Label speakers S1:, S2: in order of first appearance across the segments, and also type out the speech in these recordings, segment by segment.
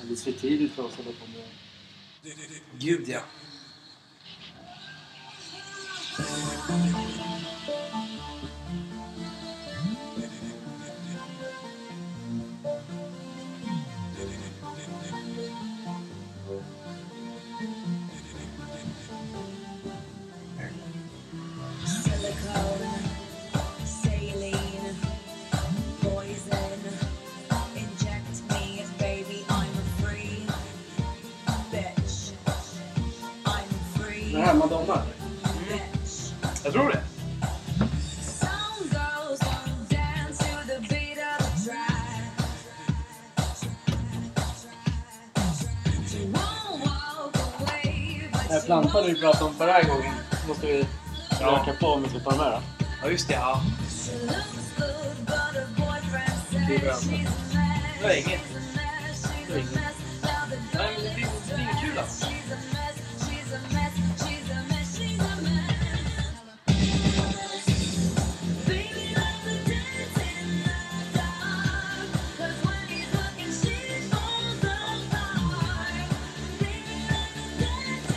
S1: Alldeles för tidigt för oss att hålla på med
S2: Gud ja.
S3: Silicone, saline, poison. Inject me, baby, I'm a free bitch. I'm free
S1: Det här Madonna.
S3: bitch.
S1: Jag tror det.
S3: Some girls wanna dance to the beat of a drum. She won't walk away,
S1: Den här
S3: but she
S1: plantan vi
S3: won't
S1: pratade om förra gången måste vi
S2: Ja.
S1: röka på om vi ska ta den här. då.
S2: Ja, just det. Ja.
S3: She looks good, but her boyfriend
S1: Det är
S3: says
S1: bra.
S3: she's a mess.
S2: Det var inget.
S3: She's a mess, she's
S1: Det var
S3: a
S1: inget.
S3: mess. Now the
S2: Nej, men
S3: girl
S2: det
S3: is
S2: är- det är
S3: stressed.
S2: kul alltså.
S3: She's a mess, she's a mess, she's a mess, she's a mess. Baby, let me dance in the dark. 'Cause when he's looking, she falls apart. Baby, let me dance in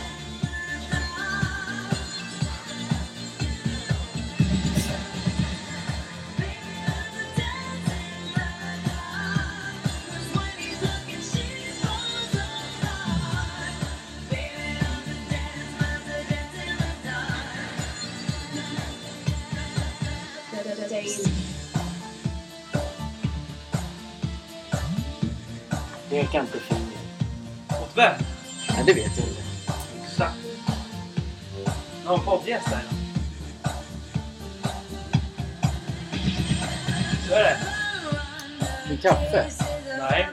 S3: the dark.
S1: Peka inte finger.
S2: Åt vem?
S1: Nej, det vet jag inte.
S2: Exakt. Någon poddgäst där? Så är det.
S3: Med kaffe?
S2: Nej.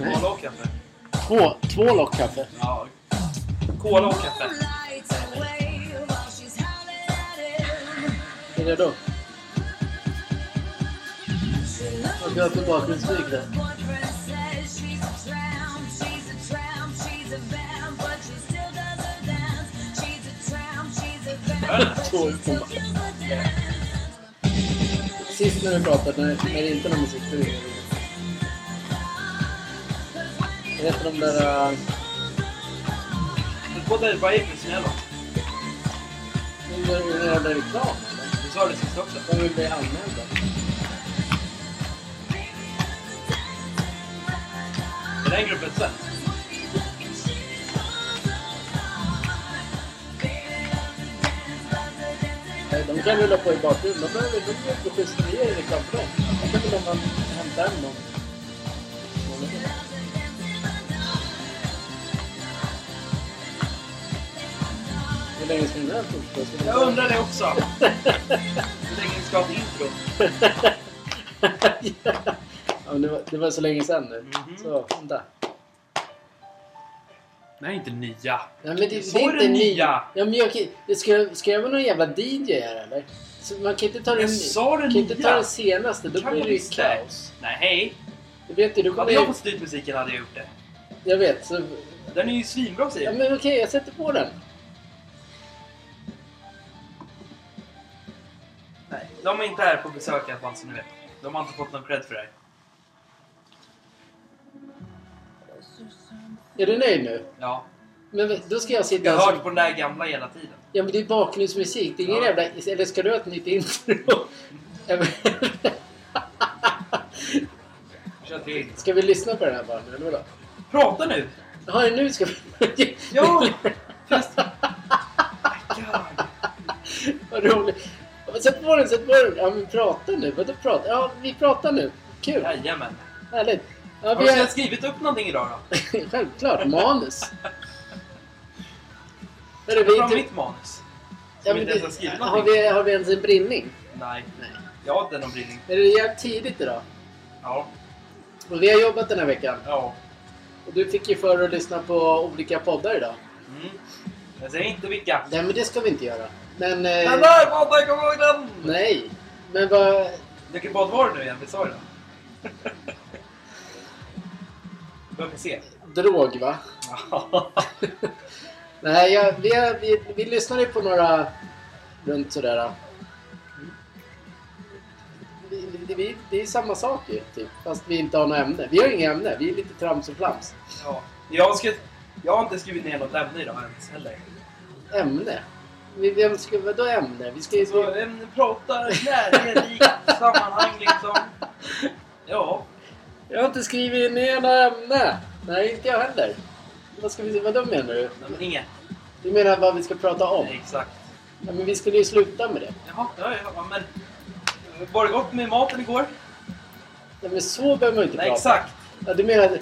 S3: Nej.
S2: Kola och kaffe.
S1: Två, två lock kaffe.
S2: Ja. Kola och kaffe.
S3: Kaffe.
S1: Är det då?
S3: Jag ska ha bakgrundsmusik där.
S1: Sist när du pratade, när, när det inte var musik, då är det Vad heter de där... äh,
S2: Men Båda är bara egensinella.
S1: De där de där jävla reklam, eller?
S2: Du sa det sist också.
S1: De vill bli anmälda.
S2: Är den gruppen svensk?
S1: Nej, De kan rulla på i bakgrunden. De behöver de behöver inte schyssta regler reklam för dem. liksom De kan väl om man hämtar hem dem. Hur länge ska den här fortgå? Ska den-
S2: Jag undrar det också. Hur länge vi ska ha ett intro?
S1: ja, men det, var, det var så länge sedan nu.
S2: Mhm.
S1: Så, vänta.
S2: Nej, inte nya.
S1: Nej, men det, det,
S2: Så
S1: är
S2: är
S1: inte
S2: det
S1: ny-
S2: nya.
S1: Ja, men jag, kan- det ska, ska jag vara någon jävla DJ här eller? Så man kan inte ta det,
S2: Jag sa det
S1: kan inte ta
S2: nya.
S1: det senaste, då
S2: Kan
S1: blir
S2: man
S1: det ju
S2: inte.
S1: kaos.
S2: Nej, hej.
S1: Du vet ju, du kommer
S2: Hade jag fått styrt musiken hade jag gjort det.
S1: Jag vet. Så,
S2: Den är ju svinbra
S1: ja,
S2: säger du.
S1: men okej, jag sätter på den.
S2: Nej, de är inte här på besök i alla fall som ni vet. De har inte fått någon cred för det här.
S1: Är du nöjd nu?
S2: Ja.
S1: Men då ska jag sitta
S2: Jag
S1: här
S2: har
S1: som-
S2: hört på den där gamla hela tiden.
S1: Ja men det är bakgrundsmusik. Det är ingen
S2: Ja.
S1: jävla... Eller ska du ha ett nytt intro? Ja, men-
S2: Kör till.
S1: ska vi lyssna på den här bara nu eller vadå?
S2: Prata nu!
S1: Jaha, nu ska vi...
S2: Ja! Just My God.
S1: Vad roligt. Ja, men Sätt på den, sätt på den. Ja men prata nu. Vadå prata? Ja, vi pratar nu. Kul.
S2: Jajamän.
S1: Härligt. Ja,
S2: Har
S1: vi
S2: du
S1: har...
S2: skrivit upp någonting idag då?
S1: Självklart. Manus. Hörru,
S2: Jag har
S1: vi...
S2: mitt manus.
S1: Ja,
S2: Som
S1: men
S2: inte ens har
S1: det...
S2: skrivit
S1: har,
S2: någonting.
S1: vi, har vi ens en brinning?
S2: Nej,
S1: Nej.
S2: jag har inte någon bildning.
S1: Men det är jävligt tidigt idag.
S2: Ja.
S1: Och vi har jobbat den här veckan.
S2: Ja.
S1: Och du fick ju för att lyssna på olika poddar idag.
S2: Mm. Jag säger inte vilka.
S1: Nej, men det ska vi inte göra. Men...
S2: Den
S1: Eh,
S2: där podden, kom ihåg den!
S1: nej. Men vad...
S2: Vilken podd var det nu igen? Vi sa ju det. Börja se.
S1: Drog, va?
S2: Ja.
S1: Nej, jag, vi, har- vi, vi lyssnade på några runt sådär. det, vi, det är samma sak ju, typ. Fast vi inte har något ämne. Vi har inga ämne. Vi är lite trams och flams.
S2: Ja. Jag, ska, jag har inte skrivit ner något ämne idag ens heller.
S1: Ämne? Vi, vem ska, vadå ämne? Vi ska ju...
S2: Så ämne pratar närhetsrikt sammanhang liksom. Ja.
S1: Jag har inte skrivit ner något ämne. Nej, inte jag heller. Vad ska vi, vadå menar du?
S2: Nej, men inget.
S1: Du menar vad vi ska prata om?
S2: Nej, Exakt.
S1: Ja, men vi skulle ju sluta med det.
S2: Jaha, ja, ja, ja, men... Var det gott med maten igår?
S1: Nej, men så behöver man ju inte
S2: Nej,
S1: prata.
S2: exakt.
S1: Ja, du menar...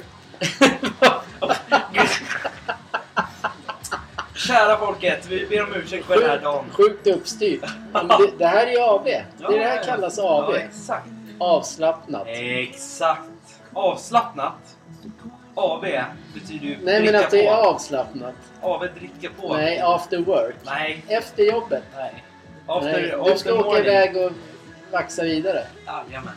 S2: Kära folket, vi ber om ursäkt för den här dagen.
S1: Sjukt uppstyrt. Men det, det här är ju AB. Det,
S2: Ja,
S1: det här
S2: ja.
S1: kallas AB.
S2: Ja, exakt.
S1: Avslappnat.
S2: Exakt. Avslappnat. AV betyder ju
S1: Nej, men
S2: dricka
S1: att det är
S2: på.
S1: avslappnat.
S2: AV dricka på.
S1: Nej, after work.
S2: Nej.
S1: Efter jobbet.
S2: Nej. After,
S1: Nej,
S2: after
S1: du ska åka
S2: morning. Ah,
S1: iväg och vaxa vidare.
S2: Jajamän.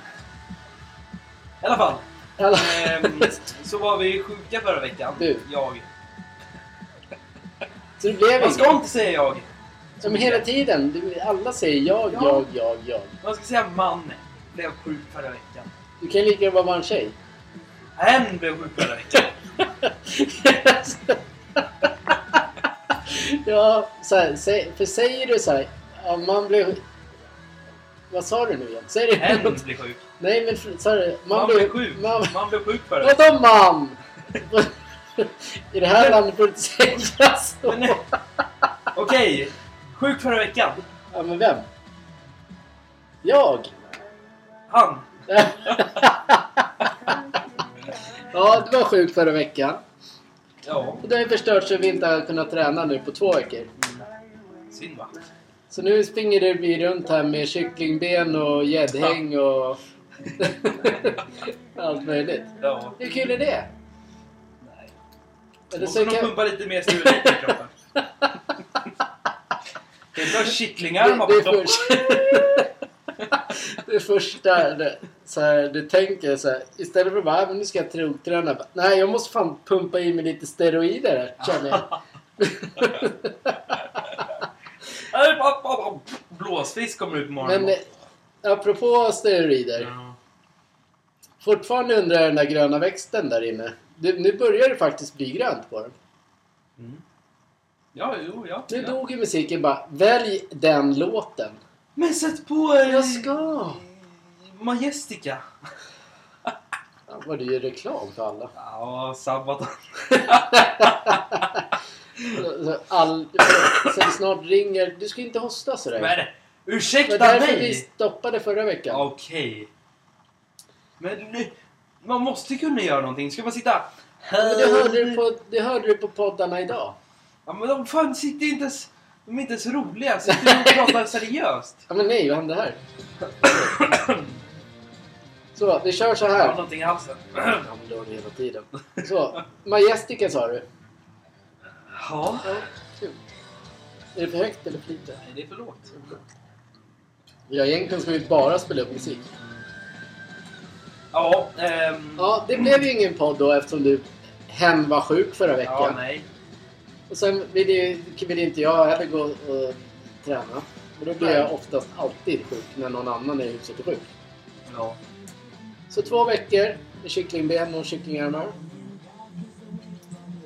S2: I alla fall.
S1: Alla...
S2: ehm, så var vi sjuka förra veckan.
S1: Du.
S2: Jag.
S1: Så det blev
S2: Man ska
S1: inget.
S2: inte säga jag.
S1: Som hela tiden. Du, alla säger jag,
S2: Ja.
S1: jag, jag, jag.
S2: Man ska säga man. Blev sjuk förra veckan.
S1: Du kan lika gärna vara en tjej.
S2: En blev sjuk förra veckan.
S1: ja, så här, sä- för säger du så här, ja, man blir... Vad sa du nu igen? Säger du
S2: En
S1: något?
S2: blev sjuk.
S1: Nej, men för- sa du...
S2: Man, blev sjuk. Man,
S1: Man,
S2: blev sjuk förra veckan.
S1: vadå man? I det här landet får du inte säga så.
S2: Men- eh, Okej. Sjuk förra veckan.
S1: Ja, men vem? Jag?
S2: Han.
S1: ja, du var sjuk förra veckan.
S2: Ja.
S1: Och det har ju förstört så vi inte har kunnat träna nu på två veckor.
S2: Synd va?
S1: Så nu springer du vi runt här med kycklingben och gäddhäng och allt möjligt.
S2: Ja.
S1: Hur kul är det?
S2: Nej.
S1: Eller
S2: Måste
S1: så
S2: nog
S1: kan...
S2: pumpa lite mer steroider i kroppen. Det är bra kycklingarmar
S1: det, det, är
S2: på toppen.
S1: först... det första det, så här, du tänker så här, istället för att bara, "Ah, men nu ska jag troträna. Bara, Nej, jag måste fan pumpa i mig lite steroider här, känner jag.
S2: Aj, app, app, app. Blåsfisk kommer ut på morgonen.
S1: Men eh, apropå steroider.
S2: Ja.
S1: Fortfarande undrar jag den där gröna växten där inne. Det, nu börjar det faktiskt bli grönt på den.
S2: Mm. Ja, jo, ja.
S1: Nu
S2: ja.
S1: dog ju musiken bara. Välj den låten.
S2: Men sätt på... Eh,
S1: Jag ska.
S2: Majestica.
S1: Ja, Vad du gör reklam för alla.
S2: Ja, Sabaton.
S1: All, sen snart ringer. Du ska inte hosta sådär.
S2: Men
S1: det var
S2: ursäkta
S1: därför vi
S2: mig!
S1: stoppade förra veckan.
S2: Okej. Men nu... Man måste kunna göra någonting. Ska man sitta...
S1: Men det, hörde du på, det hörde du på poddarna idag.
S2: Ja, men de fan sitter inte ens... De är inte ens roliga. Sitter och pratar seriöst.
S1: Ja, men nej, vad hände här? Så, vi kör så
S2: Jag har
S1: här.
S2: någonting i halsen.
S1: Ja, men det har du hela tiden. Så, Majestica sa du.
S2: Ja.
S1: Ja, kul. Är det för högt eller för lite?
S2: Nej, det är för lågt.
S1: Ja, egentligen ska vi bara spela upp musik.
S2: Ja, ehm...
S1: Ja, det blev ju ingen podd då eftersom du hen var sjuk förra
S2: Ja,
S1: veckan.
S2: nej.
S1: och sen ville ju- ville inte jag heller gå och träna. Och då blir
S2: Nej.
S1: jag oftast alltid sjuk när någon annan är i huset är sjuk.
S2: Ja.
S1: Så två veckor med kycklingben och kycklingarmar.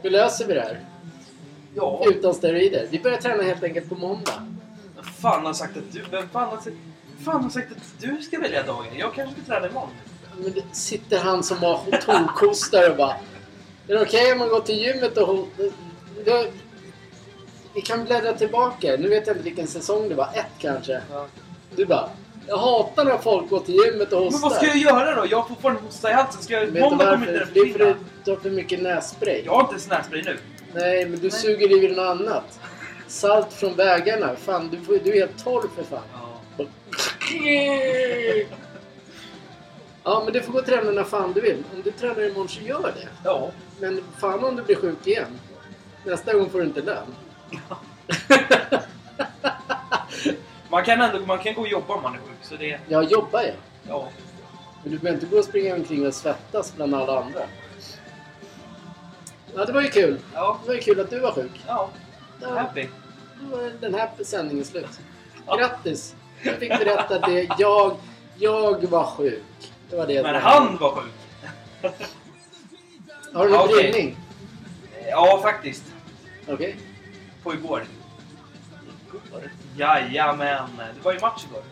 S1: Hur löser vi det här?
S2: Ja,
S1: Utan steroider. Vi börjar träna helt enkelt på måndag.
S2: vem fan har sagt att du... Vem fan har sagt, fan har sagt att du ska välja dagen? Jag kanske ska träna imorgon.
S1: Men det sitter han som har tokkostar och bara... Är det okej om man går till gymmet och... hon- Då- Vi kan bläddra tillbaka. Nu vet jag inte vilken säsong det var. Ett kanske. Du bara... Jag hatar när folk går till gymmet och hostar.
S2: Men vad ska jag göra då? Jag har fortfarande hosta i halsen. Ska jag...
S1: Vet du
S2: Måndag kommer
S1: varför?
S2: inte det
S1: Det är för att
S2: försvinna.
S1: du tar för mycket nässpray.
S2: Jag har inte ens nässpray nu.
S1: Nej, men du
S2: Nej.
S1: suger i dig något annat. Salt från vägarna. Fan, du, får, du är helt torr för fan.
S2: Ja.
S1: Ja, men du får gå och träna när fan du vill. Om du tränar imorgon så gör det.
S2: Ja.
S1: Men fan om du blir sjuk igen. Nästa gång får du inte lön.
S2: Man kan ändå man kan gå och jobba om man är sjuk. Så det...
S1: Jag jobbar ju.
S2: Ja.
S1: Men du behöver inte gå och springa omkring och svettas bland alla andra. Ja, det var ju kul.
S2: Ja.
S1: Det var ju kul att du var sjuk.
S2: Ja.
S1: Ja,
S2: Happy.
S1: då var den här sändningen slut. Grattis! Du fick berätta det jag Jag var sjuk. Det var det jag
S2: Men
S1: drömde.
S2: han var sjuk.
S1: Har du någon
S2: Okej.
S1: brytning?
S2: Ja, faktiskt.
S1: Okej.
S2: På igår. Jajamän. Det var ju match igår.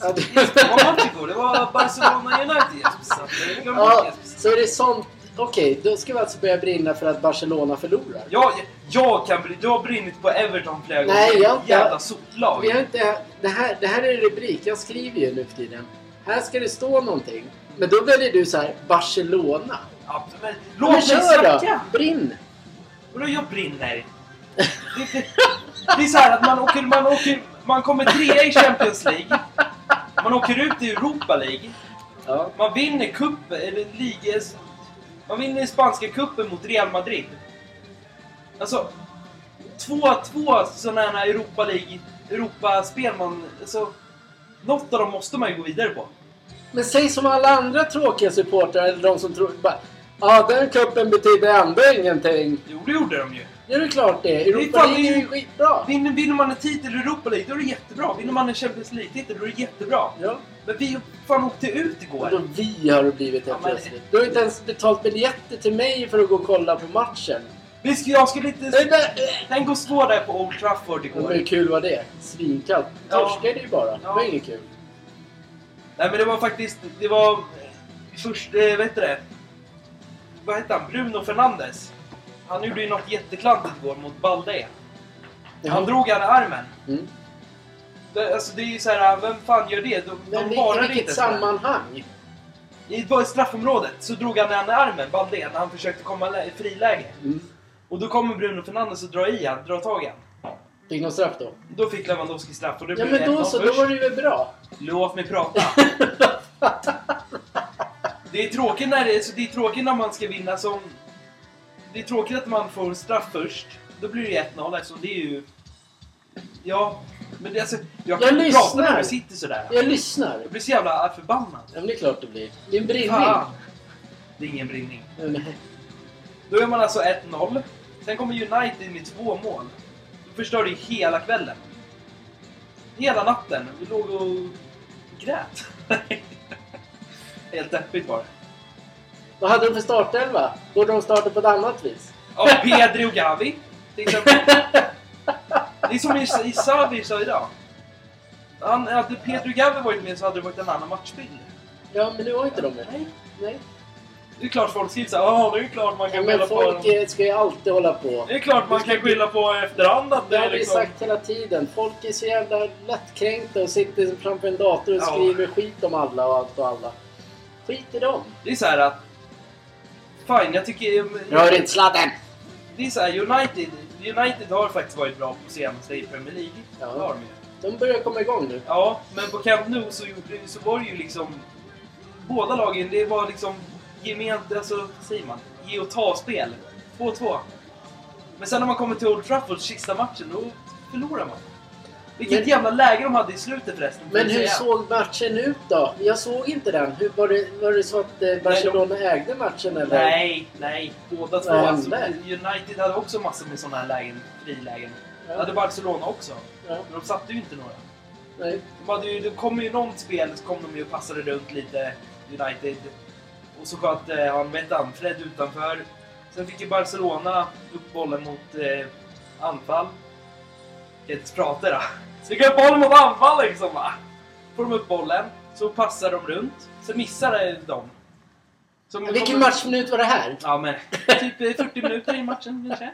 S1: Ja, det-
S2: Det var match igår. Det var Barcelona United Jesper. Så det glömde jag,
S1: Ja,
S2: Jesper.
S1: så är det sånt. Okej, då ska vi alltså börja brinna för att Barcelona förlorar.
S2: Jag, jag kan bli... Du har brinnit på Everton flera gånger.
S1: Nej,
S2: Det är
S1: jag-
S2: ett Jävla soplag.
S1: Vi har inte, det, här, det här är rubrik, jag skriver ju nu för tiden. Här ska det stå någonting. Men då väljer du så här, Barcelona.
S2: Ja, men
S1: Ja,
S2: Låt
S1: men
S2: mig
S1: kör
S2: snacka!
S1: då! Brinn!
S2: Vadå jag brinner? Det, det, det är så här att man åker, man åker... Man kommer trea i Champions League. Man åker ut i Europa League.
S1: Ja.
S2: Man vinner cupen, eller ligas... Man vinner spanska cupen mot Real Madrid. Alltså, två, två sådana här Europa League, Europaspel man... Alltså, något av dem måste man ju gå vidare på.
S1: Men säg som alla andra tråkiga supportrar, eller de som tror... bara, Ja, den kuppen betyder ändå ingenting.
S2: Jo, det gjorde de ju.
S1: Det är det klart det. Europa
S2: fan
S1: League är ju
S2: ingen-
S1: skitbra.
S2: Vinner, vinner man en titel i Europa League, då är det jättebra. Vinner man en Champions League-titel, då är det jättebra.
S1: Ja.
S2: Men vi fan åkte ut
S1: Vadå
S2: igår.
S1: vi har det blivit helt
S2: Ja, men-
S1: plötsligt? Du har inte ens betalt biljetter till mig för att gå och kolla på matchen.
S2: Vi skulle, jag skulle
S1: Det
S2: inte...
S1: där-
S2: Tänk att stå där på Old Trafford
S1: Men hur
S2: igår.
S1: kul var det? Svinkallt.
S2: Ja.
S1: Torskade ju bara. Det var
S2: Ja.
S1: inget kul.
S2: Nej men det var faktiskt... Det var... eh, Först... Eh, vad heter det? Vad hette han? Bruno Fernandes. Han gjorde ju något jätteklantigt igår mot Balde. Han drog alla armen.
S1: Mm.
S2: Det, alltså det är ju såhär, vem fan gör det? De,
S1: Men
S2: de
S1: i
S2: varar
S1: vilket
S2: inte. Samman...
S1: sammanhang?
S2: I det var i straffområdet så drog han den armen, Balde, när han försökte komma lä- i friläge.
S1: Mm.
S2: Och då kommer Bruno Fernandes och drar i han, drar tag i han.
S1: Fick någon straff då?
S2: Då fick Lewandowski straff och det
S1: Ja
S2: blev
S1: men då
S2: 1-0
S1: så, då
S2: först.
S1: var det väl bra?
S2: Låt mig prata. det, är tråkigt när det, så det är tråkigt när man ska vinna som... Det är tråkigt att man får straff först. Då blir det ju 1-0 eftersom det är ju... Ja, men det, alltså, jag kan
S1: Jag
S2: inte prata när
S1: lyssnar.
S2: du sitter sådär.
S1: Jag lyssnar.
S2: Jag blir så jävla förbannad.
S1: Ja men det är klart det blir. Det är en Mm.
S2: Fan.
S1: brinning.
S2: Det är ingen brinning.
S1: Nej.
S2: Då är man alltså 1-0. Sen kommer United med två mål. Då förstör det ju hela kvällen. Hela natten. Vi låg och grät. Helt deppigt var det.
S1: Vad hade de för startelva? Borde de starta på ett annat vis?
S2: Ja, Pedri och Gavi. till exempel. Det är som Is- Isavi sa idag. Han, hade Pedri och Gavi varit med så hade det varit en annan matchbild.
S1: Ja men nu var inte de med.
S2: Nej.
S1: Nej.
S2: Det är klart folk skriver såhär ja det är klart man
S1: Ja,
S2: kan skylla
S1: men
S2: på
S1: folk
S2: dem.
S1: eh, ska ju alltid hålla på.
S2: Det är klart man kan skylla på efterhand att
S1: Det
S2: det
S1: har
S2: är
S1: vi
S2: liksom...
S1: sagt hela tiden. Folk är så jävla lättkränkta och sitter framför en dator och
S2: Ja.
S1: skriver skit om alla och allt och alla. Skit i dem.
S2: Det är såhär att... Fine, jag tycker...
S1: Rör inte sladden!
S2: Det är såhär, United, United har faktiskt varit bra på senaste i Premier League.
S1: Ja.
S2: Det har de ju.
S1: De börjar komma igång nu.
S2: Ja, men på Camp Nou så, gjorde, så var det ju liksom... Båda lagen, det var liksom gemensamt, alltså vad säger man? Ge och ta-spel. 2-2. Men sen när man kommer till Old Trafford, sista matchen, då förlorar man. Vilket
S1: Men-
S2: jävla läge de hade i slutet förresten. får
S1: Men
S2: jag
S1: hur
S2: säga.
S1: såg matchen ut då? Jag såg inte den. Hur, var, det, var det så att eh, Barcelona ägde matchen eller?
S2: Nej, nej. Båda två.
S1: Vad
S2: Alltså,
S1: hände?
S2: United hade också massor med sådana här lägen, frilägen.
S1: Ja.
S2: Hade Barcelona också.
S1: Ja,
S2: Men de satte ju inte några.
S1: nej.
S2: De hade ju, det kom ju något spel så kom de ju och passade runt lite, United. Och så sköt eh, han, med han, Fred utanför. Sen fick ju Barcelona upp bollen mot eh, anfall. Kan inte prata då. Så fick upp bollen mot anfall liksom va. Får de upp bollen, så passar de runt. Sen missar de. Så de
S1: Vilken
S2: kommer-
S1: matchminut var det här?
S2: Ja men, typ eh, 40 minuter i matchen kanske.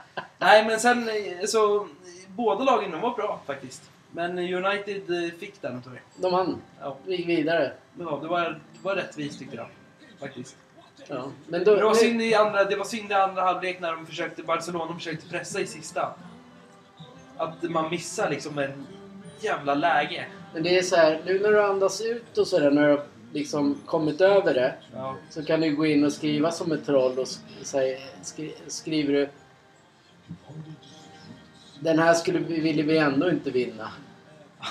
S2: Nej men sen eh, så, båda lagen de var bra faktiskt. Men United eh, fick den tror jag.
S1: De vann.
S2: Ja,
S1: Vi gick vidare.
S2: ja, det, var, det var rättvist tyckte jag. Faktiskt.
S1: Ja. Men
S2: Det var
S1: då,
S2: synd i andra, det var synd i andra halvlek när de försökte, Barcelona försökte pressa i sista. Att man missar liksom en jävla läge.
S1: men det är så här, nu när du andas ut och sådär, när du har liksom kommit över det.
S2: Ja.
S1: Så kan du gå in och skriva som ett troll och sk- säg- skri skriver du Den här skulle vi, ville vi ändå inte vinna.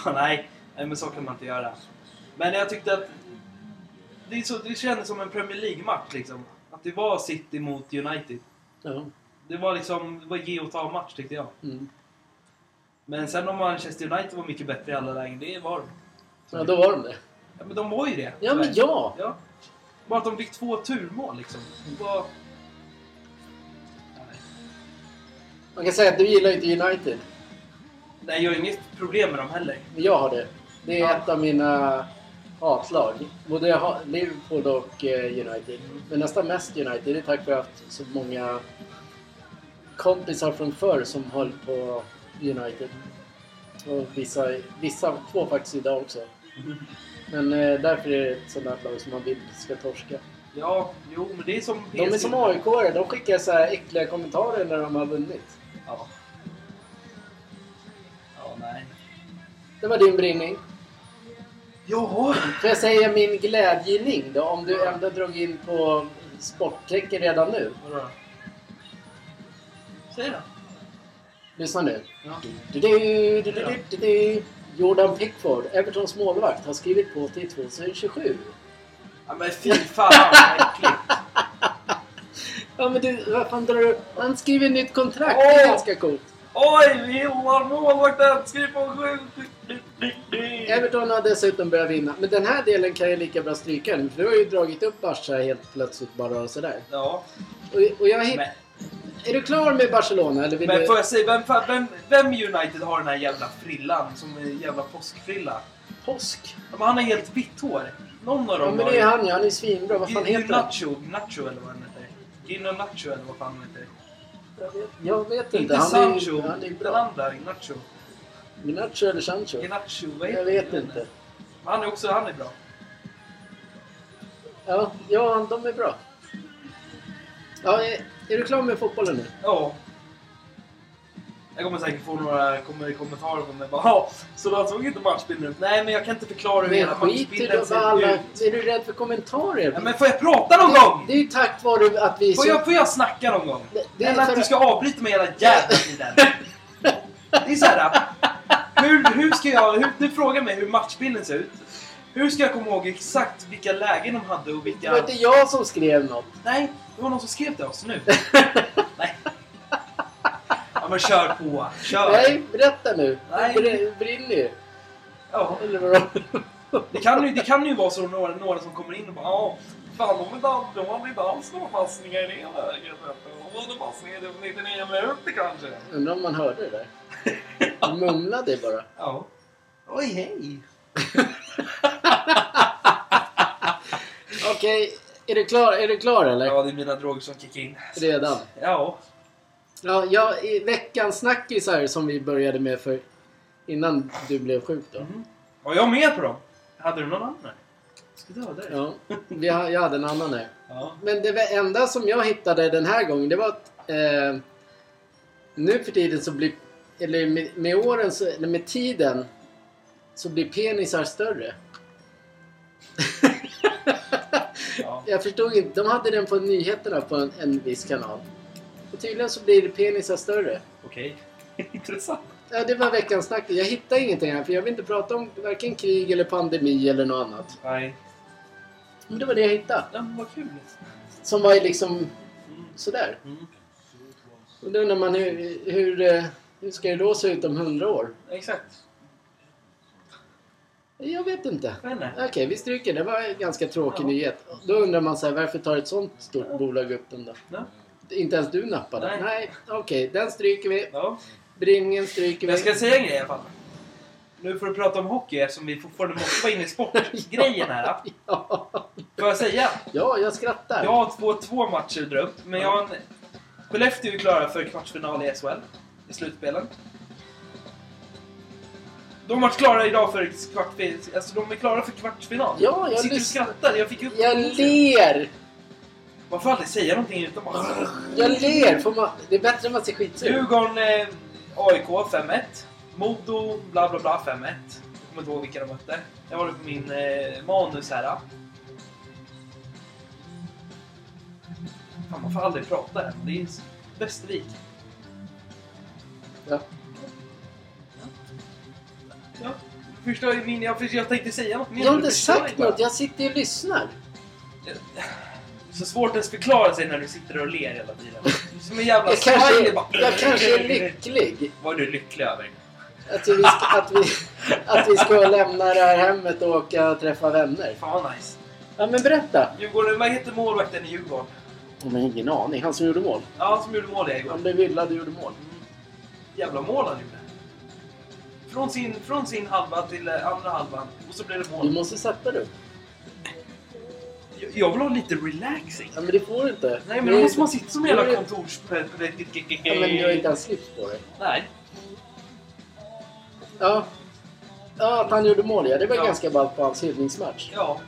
S2: Ah, Nej, nej, men så kan man inte göra. Men jag tyckte att det, är så, det kändes som en Premier League-match liksom. Att det var City mot United.
S1: Ja.
S2: Det var liksom, det var ge och ta match tyckte jag.
S1: Mm.
S2: Men sen om Manchester United var mycket bättre i alla lägen, det var de.
S1: Ja, då var de det.
S2: Ja, men de var ju det.
S1: Ja, men
S2: tyvärr.
S1: ja!
S2: Ja. Bara att de fick två turmål liksom. Det var... Nej.
S1: Man kan säga att du gillar inte United.
S2: Nej, jag har inget problem med dem heller.
S1: Men jag har det. Det är
S2: Ja.
S1: ett av mina hatlag. Både ha- Liverpool och eh, United. Men nästan mest United. Det är tack vare att så många kompisar från förr som höll på United. Och vissa, vissa två faktiskt idag också. Men eh, därför är det ett sånt här lag som man vill ska torska.
S2: Ja, jo, men det är som
S1: De är som aik de skickar så här äckliga kommentarer när de har vunnit.
S2: Ja. Ja, nej.
S1: Det var din brinning.
S2: Jaha!
S1: Får jag säga min glädjening då? Om du ändå drog in på sporttecken redan nu.
S2: Vadå? Säg då.
S1: Lyssna nu.
S2: Ja.
S1: Du, du, du, du, du, du, du. Jordan Pickford, Evertons målvakt, har skrivit på till 2027.
S2: ja men fy fan vad äckligt.
S1: Ja men du, vad fan drar du Han skriver nytt kontrakt,
S2: Åh!
S1: det är ganska coolt.
S2: Oj, vi gillar målvakten! Skriv på sju!
S1: Everton har dessutom börjat vinna. Men den här delen kan jag lika bra stryka nu, för du har ju dragit upp Barca helt plötsligt bara och sådär.
S2: Ja,
S1: Och, och jag hitt...
S2: men,
S1: Är du klar med Barcelona eller vill
S2: men
S1: du...
S2: får jag säga, vem, fan- vem, vem i United har den här jävla frillan som är en jävla påskfrilla?
S1: Påsk?
S2: Ja, Men han har helt vitt hår. Någon av
S1: Ja
S2: dem
S1: men
S2: har
S1: det är han ju, han är svinbra. Vad fan
S2: Gino
S1: heter han?
S2: Nacho, Nacho eller vad han heter. Gino Nacho eller vad fan han heter.
S1: Jag vet inte.
S2: Inte
S1: Han är, ju-
S2: Sancho,
S1: han är ju
S2: den
S1: bra.
S2: andra Nacho.
S1: Minacho eller Sancho?
S2: Gnacho, vad heter
S1: Jag vet
S2: han?
S1: inte.
S2: Men han är också, han är bra.
S1: Ja, ja, de är bra. Ja, är, är du klar med fotbollen nu?
S2: Ja. Jag kommer säkert få några kommer, kommentarer om det. Bara, "Ja, så då såg inte matchbilden ut. Nej, men jag kan inte förklara hur
S1: Men
S2: hela
S1: skit i
S2: matchbilden
S1: det
S2: ser
S1: vad alla...
S2: ut.
S1: Är du rädd för kommentarer?
S2: Ja, men får jag prata någon
S1: det,
S2: gång?
S1: det är ju tack vare att vi...
S2: får, jag, får jag snacka någon gång?
S1: Det- det är
S2: Eller att
S1: för-
S2: du ska avbryta mig hela jävla tiden. det är så här. Hur, hur ska jag... Hur, du frågar mig hur matchbilden ser ut. Hur ska jag komma ihåg exakt vilka lägen de hade och
S1: Det var
S2: vilka...
S1: inte jag som skrev något.
S2: Nej, det var någon som skrev till oss nu. Nej. Ja, men kör på. Kör.
S1: Nej, berätta nu.
S2: Nej.
S1: Det brinner ju.
S2: Ja.
S1: Eller vadå?
S2: Det kan ju, det kan ju vara så några, några som kommer in och bara ja, fan de vill inte- de har inte alls några passningar i det läget. De hade passningar i 99 minuter kanske.
S1: Undrar om man hörde det där. Han mumlade bara.
S2: Ja. Oj, hej!
S1: Okej, är du klar, är du klar eller?
S2: Ja, det är mina droger som kickar in.
S1: Redan.
S2: Ja.
S1: Ja, jag, i veckans snackisar som vi började med för innan du blev sjuk då.
S2: Mm. Var jag med på dem? Hade du någon annan? Ska döda dig.
S1: Ja, vi, ha- jag hade en annan här.
S2: Ja.
S1: Men det var- enda som jag hittade den här gången det var att eh, nu för tiden så blir, eller med, med åren, så, eller med tiden så blir penisar större.
S2: ja.
S1: Jag förstod inte, de hade den på nyheterna på en, en viss kanal. Och tydligen så blir penisar större.
S2: Okej. Intressant.
S1: Ja, det var veckans snack. Jag hittar ingenting här för jag vill inte prata om varken krig eller pandemi eller något annat.
S2: Nej.
S1: Men det var det jag hittade.
S2: Ja, men vad kul.
S1: Som var ju liksom
S2: Mm.
S1: sådär.
S2: Mm.
S1: Och då undrar man hur, hur, eh, hur ska det då se ut om hundra år?
S2: Exakt.
S1: Jag vet inte.
S2: Jag vet inte.
S1: Okej, vi stryker. Det var en ganska tråkig
S2: Ja.
S1: nyhet. Då undrar man så här, varför tar ett sånt stort bolag upp den då?
S2: Ja.
S1: Inte ens du nappade.
S2: Nej.
S1: Nej, okej. Den stryker vi.
S2: Ja.
S1: Brinningen stryker vi.
S2: Jag ska säga en grej i alla fall. Nu får du prata om hockey eftersom vi fortfarande måste vara inne i sportgrejen här.
S1: Ja.
S2: Får jag säga?
S1: ja, jag skrattar.
S2: Jag har två, två matcher att dra upp, men jag har en... Skellefteå är klara för kvartsfinal i SHL, i slutspelen. De har varit klara idag för kvartfinal. Alltså de är klara för kvartsfinal.
S1: Ja, jag
S2: Sitter och
S1: lyssnar.
S2: skrattar. Jag fick upp
S1: Jag ler!
S2: Man får aldrig säga någonting utan bara...
S1: Jag ler! Får man... Det är bättre om man ser skitsur
S2: Djurgården, eh, AIK 5-1. Modo, bla bla bla 5-1. Jag kommer inte ihåg vilka de mötte. Jag har det på min eh, manus här. Då. Fan, man får aldrig prata här. Det är s- Västervik.
S1: Ja.
S2: Ja. Du förstår ju min... Jag, förs- jag tänkte säga något mer.
S1: Jag har
S2: men du
S1: inte
S2: förstår
S1: sagt
S2: bara.
S1: något. Jag sitter och lyssnar.
S2: Så svårt att ens förklara sig när du sitter och ler hela tiden. Som en jävla
S1: Jag kanske,
S2: smiley bara.
S1: jag kanske är lycklig.
S2: Vad är du lycklig över?
S1: Att vi, ska, att vi, att vi ska lämna det här hemmet och åka och träffa vänner.
S2: Fan vad nice.
S1: Ja, men berätta!
S2: Djurgården, vad heter målvakten i Djurgården?
S1: Jag har ingen aning. Han som gjorde mål.
S2: Ja, han som gjorde mål i igår.
S1: Han blev villad och gjorde mål.
S2: Mm. Jävla mål han gjorde. Från sin, från sin halva till eh, andra halvan. Och så blev det
S1: Du
S2: mål.
S1: måste sätta dig upp.
S2: Jag- Jag vill ha lite relaxing.
S1: Ja, men det får du inte.
S2: Nej
S1: Du-
S2: men då måste man sitta som
S1: du-
S2: jävla kontorspredikit.
S1: Mm. Ja, men du har inte ens slips på dig.
S2: Mm. Nej.
S1: Ja. Ja, att han gjorde mål ja. Det var
S2: Ja.
S1: ganska ballt på hans hyllningsmatch.
S2: Ja.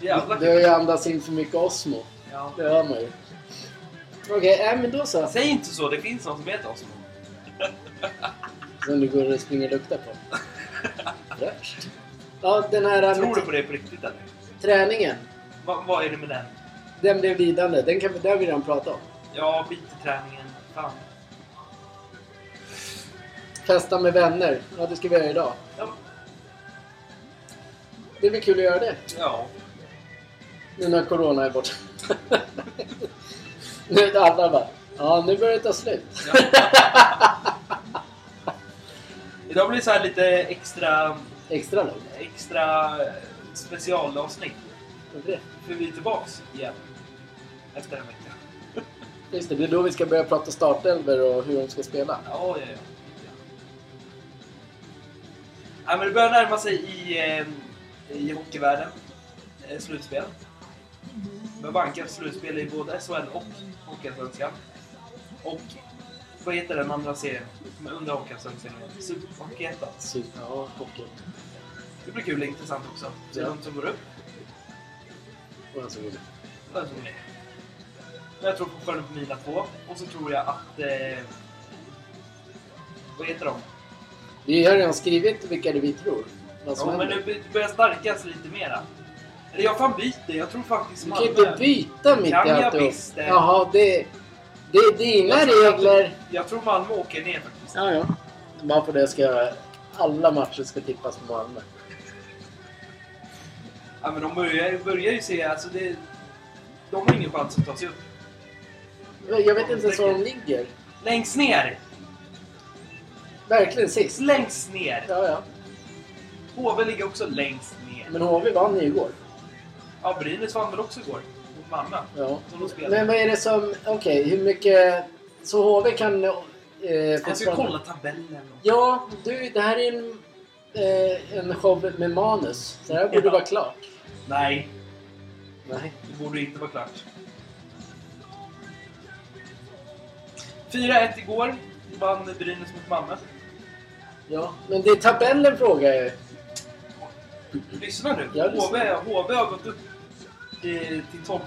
S2: Jävla
S1: Du har ju andats in för mycket Osmo.
S2: ja.
S1: Det hör man ju. Okej, nej, men då så.
S2: Säg inte så, det finns någon som heter Osmo.
S1: Som du går och springer och luktar på. Fräscht. Ja, den här
S2: Tror du
S1: med
S2: på det på riktigt eller?
S1: träningen.
S2: Va, vad är det med den?
S1: Den blev lidande. Den kan vi, där har vi redan pratat om.
S2: Ja, skit i träningen. Fan.
S1: Festa med vänner. Ja, det ska vi göra idag.
S2: Ja.
S1: Det blir kul att göra det.
S2: ja.
S1: Nu när corona är borta. nu är det alla bara. Ja, nu börjar det ta slut.
S2: Idag blir det så här lite extra,
S1: Extra långt.
S2: extra specialavsnitt.
S1: Varför det?
S2: För vi är tillbaks igen. Efter en vecka.
S1: Just det, det är då vi ska börja prata startelver och hur de ska spela.
S2: Ja, ja, ja. ja men det börjar närma sig i, eh, i hockeyvärlden. Eh, Slutspel. Med bankat slutspel i både SHL och Hockeyallsvenskan. Och vad heter den andra serien? Som är Under Hockeyallsvenskan? Superhockeyettan.
S1: Syn. Ja, hockey.
S2: Det blir kul och intressant också. Se
S1: Ja.
S2: de som går upp.
S1: Och alltså, han som gjorde.
S2: Vem som är. Men jag tror fortfarande på mina två. Och så tror jag att... Eh, vad heter de?
S1: Vi har redan skrivit vilka det vi tror. Vad som
S2: Ja, men
S1: händer.
S2: nu by- börjar snarkas lite mera. Eller jag fan byter. Jag tror faktiskt
S1: Du kan ju inte byta mitt i
S2: Kan jag
S1: alltihop.
S2: visst det.
S1: Jaha, det, det är dina
S2: Jag tror-
S1: regler.
S2: Jag tror Malmö åker ner faktiskt.
S1: Ja, ja. Bara på det ska alla matcher ska tippas på Malmö.
S2: Ja, men de börjar, börjar ju se... Alltså det, de har ingen chans att ta sig upp.
S1: Jag vet inte ens var de ligger.
S2: Längst ner!
S1: Verkligen sist.
S2: Längst ner!
S1: Ja, ja.
S2: HV ligger också längst ner.
S1: Men HV vann ju igår.
S2: Ja, Brynäs vann väl också igår? Mot Malmö.
S1: Ja.
S2: Som de spelar.
S1: Men vad är det som... Okej, hur mycket... Så HV kan... Eh,
S2: Jag ska
S1: fortfarande-
S2: kolla tabellen.
S1: Ja, du, det här är en, eh, en show med manus. Så det här borde
S2: Ja.
S1: vara klart.
S2: Nej,
S1: Nej.
S2: det borde inte vara klart. 4-1 igår. Vann Brynäs mot Malmö.
S1: Ja, men det är tabellen frågar jag ju.
S2: Lyssna nu.
S1: Jag
S2: HV,
S1: lyssnar.
S2: HV har gått upp eh, till 12.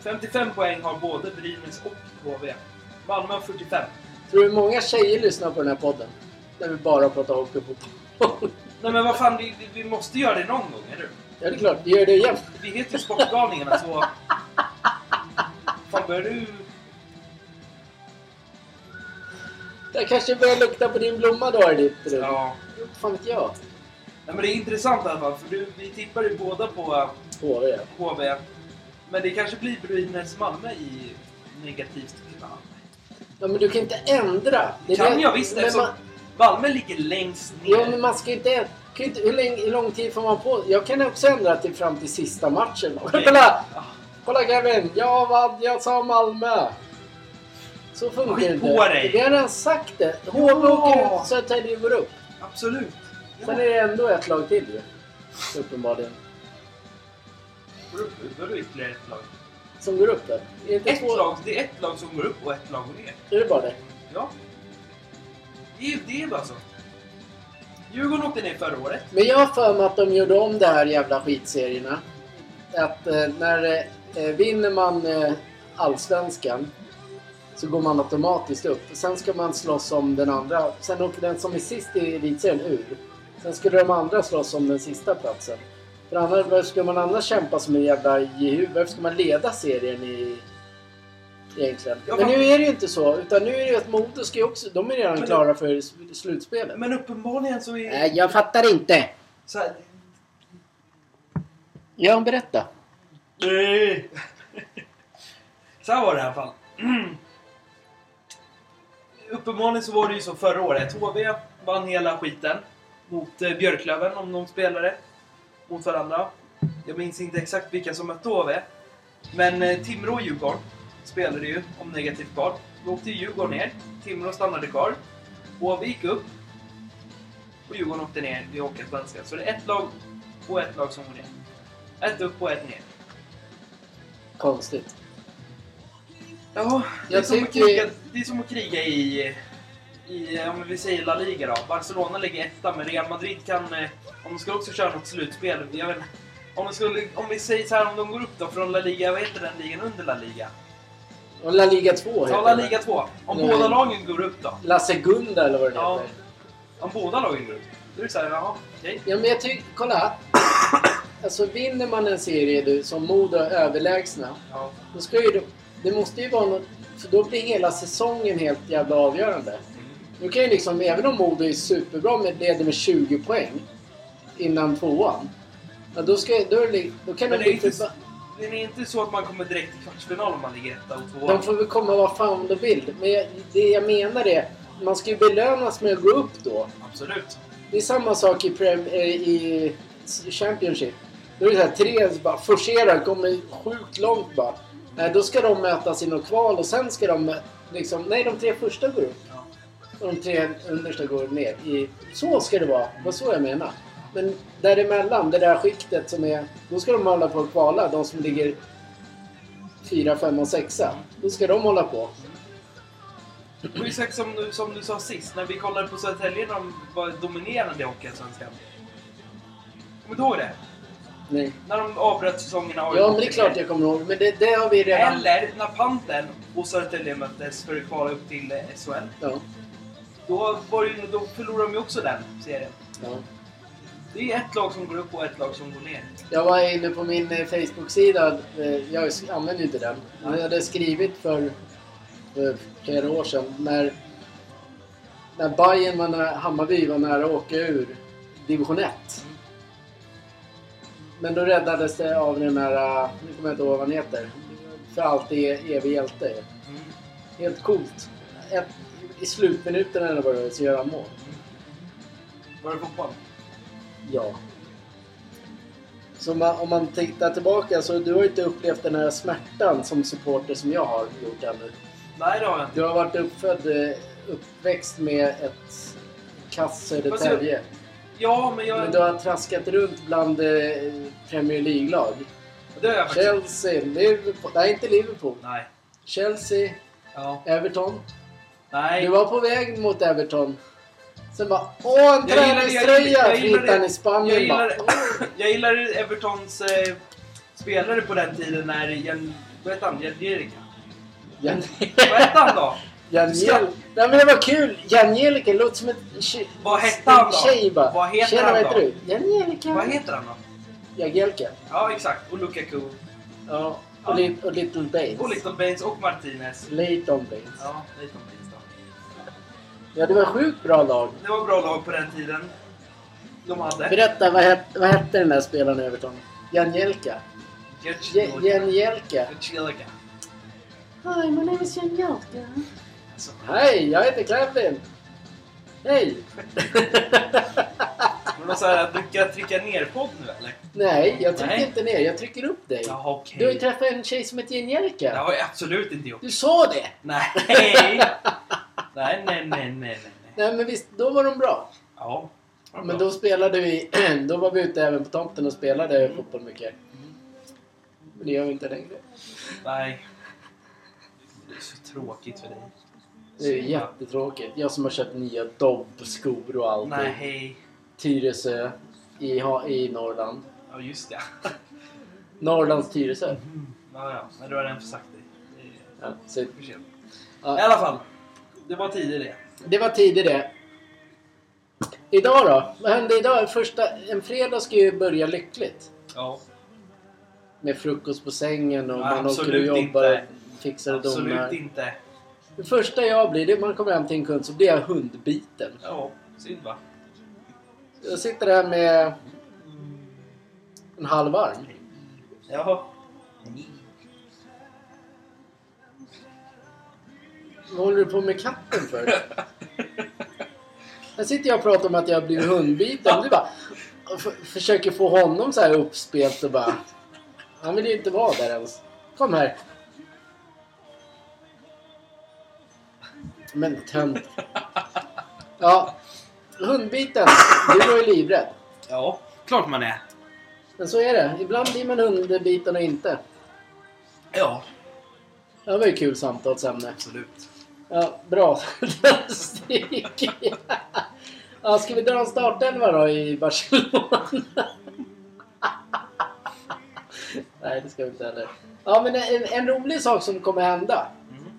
S2: 55 poäng har både Brynäs och HV. Malmö har 45.
S1: Tror du många tjejer lyssnar på den här podden? Där vi bara pratar hockey och fotboll.
S2: Nej men vad fan, vi, vi- vi måste göra det någon gång, eller hur?
S1: ja, det är klart. Vi gör det igen.
S2: Vi heter ju Sportgalningarna så... Fan, börjar du...
S1: Jag kanske börjar lukta på din blomma då i ditt rum.
S2: Ja.
S1: Fan vet jag?
S2: Nej men det är intressant i alla fall, för du, vi tippar ju båda på
S1: HV, ja.
S2: HV. Men det kanske blir Brynäs-Malmö i negativt klimat.
S1: ja. men du kan inte ändra. Det är
S2: Kan
S1: det-
S2: jag visst
S1: men
S2: eftersom
S1: man,
S2: Malmö ligger längst ner.
S1: Ja, men man ska ju inte... Kan ju inte hur, länge, hur lång tid får man på Jag kan också ändra till fram till sista matchen.
S2: Okej.
S1: Kolla!
S2: Ja.
S1: Kolla Kevin, jag vann, jag sa Malmö. Så funkar
S2: Skit
S1: det inte.
S2: på dig.
S1: Vi har redan sagt det. HV
S2: Ja.
S1: åker ut, Södertälje går upp.
S2: Absolut. Ja.
S1: Sen är det ändå ett lag till ju. Uppenbarligen.
S2: Vadå ytterligare ett lag?
S1: Som går upp där. Är det inte
S2: Ett
S1: två-
S2: lag? Det är ett lag som går upp och ett lag går ner.
S1: Är det bara det?
S2: Ja. Det är ju det är bara så. Djurgården åkte ner förra året.
S1: Men jag har för mig att de gjorde om de här jävla skitserierna. Att eh, när eh, vinner man eh, allsvenskan så går man automatiskt upp. Sen ska man slåss om den andra. Sen åker den som är sist i elitserien ur. Sen skulle de andra slåss om den sista platsen. För annars, varför ska man annars kämpa som en jävla jehu? Varför ska man leda serien i... Egentligen.
S2: Ja,
S1: Men
S2: fast-
S1: nu är det ju inte så. Utan nu är det ju att Modo ska ju också... De är redan
S2: Men-
S1: klara för sl- slutspelet.
S2: Men uppenbarligen så är
S1: Nej, jag fattar inte.
S2: så här...
S1: Ja, berätta.
S2: Nej. så här var det i alla fall. uppenbarligen så var det ju så förra året. HV vann hela skiten mot eh, Björklöven om de spelade mot varandra. Jag minns inte exakt vilka som mötte HV. Men eh, Timrå och Djurgården spelade ju om negativt kval. Då åkte ju Djurgården ner. Timrå stannade kvar. HV gick upp. Och Djurgården åkte ner i Hockeyallsvenskan. Så det är ett lag och ett lag som går ner. Ett upp och ett ner.
S1: Konstigt.
S2: Ja, det, är
S1: Jag
S2: som att
S1: tycker-
S2: kriga, det är som att kriga i, i ja, men vi säger La Liga då. Barcelona ligger etta, men Real Madrid kan, eh, om de ska också köra något slutspel, jag vet inte. om, de skulle, om vi säger så här, om de går upp då från La Liga, vad heter den ligan under La Liga?
S1: Och La Liga 2
S2: Ta
S1: heter Mm.
S2: La
S1: det.
S2: Liga 2. Om
S1: Nej.
S2: båda lagen går upp då?
S1: La Segunda eller vad det
S2: Ja.
S1: heter.
S2: Om båda lagen går upp? Då är det såhär, jaha, okej.
S1: Ja, men jag tycker... Kolla! Alltså vinner man en serie du, som Modo är överlägsna,
S2: Ja.
S1: då ska ju det, det måste ju vara något... För då blir hela säsongen helt jävla avgörande. Du kan ju liksom, även om Modo är superbra med leder med 20 poäng innan tvåan. Ja, då, ska, då, är det, li- då kan
S2: Men
S1: de
S2: det är,
S1: inte...
S2: inte, s- det är inte så att man kommer direkt till kvartsfinal om man ligger etta och tvåa.
S1: De får väl komma vad fan de vill. Men jag, det jag menar är, man ska ju belönas med att gå upp då.
S2: Absolut.
S1: Det är samma sak i, prem, eh, i Championship. Då är det så här, tre som bara forcerar, kommer sjukt långt bara. Nej, då ska de mötas i något kval och sen ska de mö- liksom, nej de tre första går upp
S2: Ja.
S1: och de tre understa går ner. I, så ska det vara, det var så jag menar. Men däremellan, det där skiktet som är, då ska de hålla på och kvala, de som ligger fyra, fem och sexa. Då ska de hålla på.
S2: Det var ju exakt som du, som du sa sist, när vi kollade på Södertälje när de var dominerande i Hockeyallsvenskan. Kommer du ihåg det?
S1: Nej.
S2: När de avbröt säsongerna. och-
S1: Ja, men det är klart jag kommer ihåg, men det, det har vi redan...
S2: Eller när Pantern och Södertälje möttes för att kvala upp till eh, SHL.
S1: Ja,
S2: Då, var ju, då förlorade de ju också den serien.
S1: ja.
S2: Det är ett lag som går upp och ett lag som går ner.
S1: Jag var inne på min eh, Facebook-sida. eh, Jag sk- använder ju inte den. Men jag hade skrivit för, för flera år sedan när, när Bayern var nära, Hammarby var nära att åka ur division 1. Men då räddades det av den här, eh, nu kommer jag inte ihåg vad han heter, för alltid evig hjälte.
S2: Mm.
S1: Helt coolt. Ett, I slutminuterna eller vad det var så gör han mål.
S2: Var det fotboll?
S1: Ja. Så man, om man tittar tillbaka så du har ju inte upplevt den här smärtan som supporter som jag har gjort ännu.
S2: Nej, det har jag inte.
S1: Du har varit uppfödd, eh, uppväxt med ett kass Södertälje.
S2: Ja, men jag...
S1: Men du har traskat runt bland eh, Premier League-lag.
S2: Det har jag faktiskt.
S1: Chelsea, Liverpool. Nej, inte Liverpool.
S2: Nej.
S1: Chelsea,
S2: Ja.
S1: Everton.
S2: Nej.
S1: Du var på väg mot Everton. Sen bara åh, en
S2: Jag gillar det, jag gillar-
S1: träningströja!
S2: jag gillar
S1: Frittan
S2: det.
S1: i Spanien
S2: Jag gillar
S1: bara. "Åh."
S2: Jag gillar Evertons eh, spelare på den tiden när Jan... Vad hette han? Jadjerika?
S1: Jan-
S2: Vad hette han då?
S1: Janjel... Nej men det var kul! Janjelika låter som ett tje...
S2: Vad hette han då?
S1: tjej bara.
S2: Vad heter
S1: Tjena,
S2: han
S1: vad
S2: då?
S1: heter du? Janjelika.
S2: Vad heter han då?
S1: Jagielka.
S2: Ja, exakt. Och Lukaku.
S1: Ja.
S2: Ja.
S1: Och, li- och Little Bates.
S2: Och Little Baines och Martinez.
S1: Leighton Bates. Ja.
S2: Ja, Little Baines då.
S1: det var sjukt bra lag.
S2: Det var bra lag på den tiden. De hade.
S1: Berätta, vad, het, vad hette den där spelaren i Everton? Janjelka. Ja-
S2: Jadjerika.
S1: Janjelka.
S2: Jadjerika.
S1: Hi, my name is Janjelka.
S2: Alltså,
S1: Hej, jag heter Kevin. Hej!
S2: Men de sa att du kan trycka ner-podd nu eller?
S1: Nej, jag trycker
S2: Nej.
S1: inte ner. Jag trycker upp dig.
S2: Jaha, okej.
S1: Du har ju träffat en tjej som heter Janjelka.
S2: Det har jag absolut inte gjort.
S1: Du sa det!
S2: Nej! nej, nej, nej, nej, nej. nej.
S1: Nej men visst, då var de bra.
S2: Ja. det var
S1: Men
S2: bra.
S1: då spelade vi, då var vi ute även på tomten och spelade
S2: Mm.
S1: fotboll mycket. Men det gör vi inte längre.
S2: Nej. Det är så tråkigt för dig.
S1: Det är ju jättetråkigt. Jag som har köpt nya Dobb-skor och allting.
S2: Nej, hej.
S1: Tyresö i, ha- i Norrland.
S2: Ja, just det.
S1: Norrlands Tyresö.
S2: Mm. Ja, ja. Men du har redan sagt det. Det
S1: Ja, så,
S2: är för sent. I
S1: ja.
S2: alla fall. Det var tidigare det.
S1: Det var tidigt det. Idag då? Vad hände idag? Första, en fredag ska ju börja lyckligt.
S2: Ja.
S1: Med frukost på sängen och
S2: Ja,
S1: man åker och
S2: absolut
S1: jobbar
S2: inte.
S1: och fixar och
S2: Absolut
S1: donar.
S2: inte.
S1: Det första jag blir, det är man kommer hem till en kund så blir jag hundbiten.
S2: Ja, synd va?
S1: Jag sitter där med en halv arm.
S2: Jaha.
S1: Vad håller du på med katten för? Här sitter jag och pratar om att jag har blivit hundbiten. Du bara f- försöker få honom så här uppspelt och bara... Han vill ju inte vara där ens. Kom här. Men tönt. Ja. Hundbiten. Du var ju livrädd.
S2: Ja, klart man är.
S1: Men så är det. Ibland blir man hundbiten och inte.
S2: Ja,
S1: Det var ju kul samtalsämne.
S2: absolut.
S1: Ja, bra. Statistik. ja, ska vi dra en startelva då i Barcelona? Nej, det ska vi inte heller. Ja, men en, en rolig sak som kommer hända,
S2: Mm.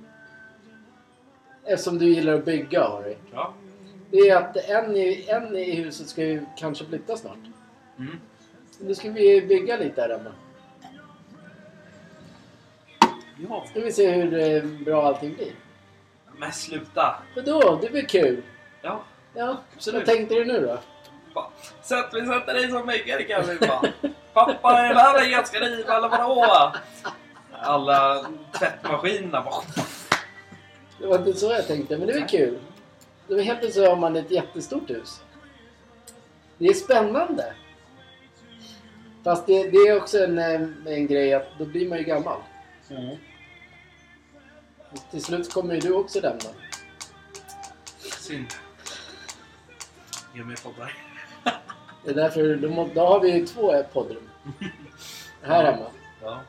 S1: eftersom du gillar att bygga Harry,
S2: Ja.
S1: det är att en i, en i huset ska ju kanske flytta snart.
S2: Mm.
S1: Nu ska vi bygga lite här hemma.
S2: ja.
S1: Ska vi se hur eh, bra allting blir.
S2: Men sluta.
S1: Vadå? Det blir kul.
S2: Ja,
S1: Ja,
S2: Absolut.
S1: vad tänkte du nu då?
S2: fan. Sätt, vi sätter dig som äggare kan vi fan. Pappa, den här veckan ska riva eller vadå? Alla tvättmaskinerna bara...
S1: Det var inte så jag tänkte, men det var kul. Det var helt plötsligt så har man ett jättestort hus. Det är spännande. Fast det, det är också en, eh, en grej att då blir man ju gammal.
S2: Mm.
S1: Och till slut kommer ju du också lämna.
S2: Synd. Ge mig poddar.
S1: Det är därför, då, må, då har vi ju två eh, poddrum. Här hemma.
S2: Ja.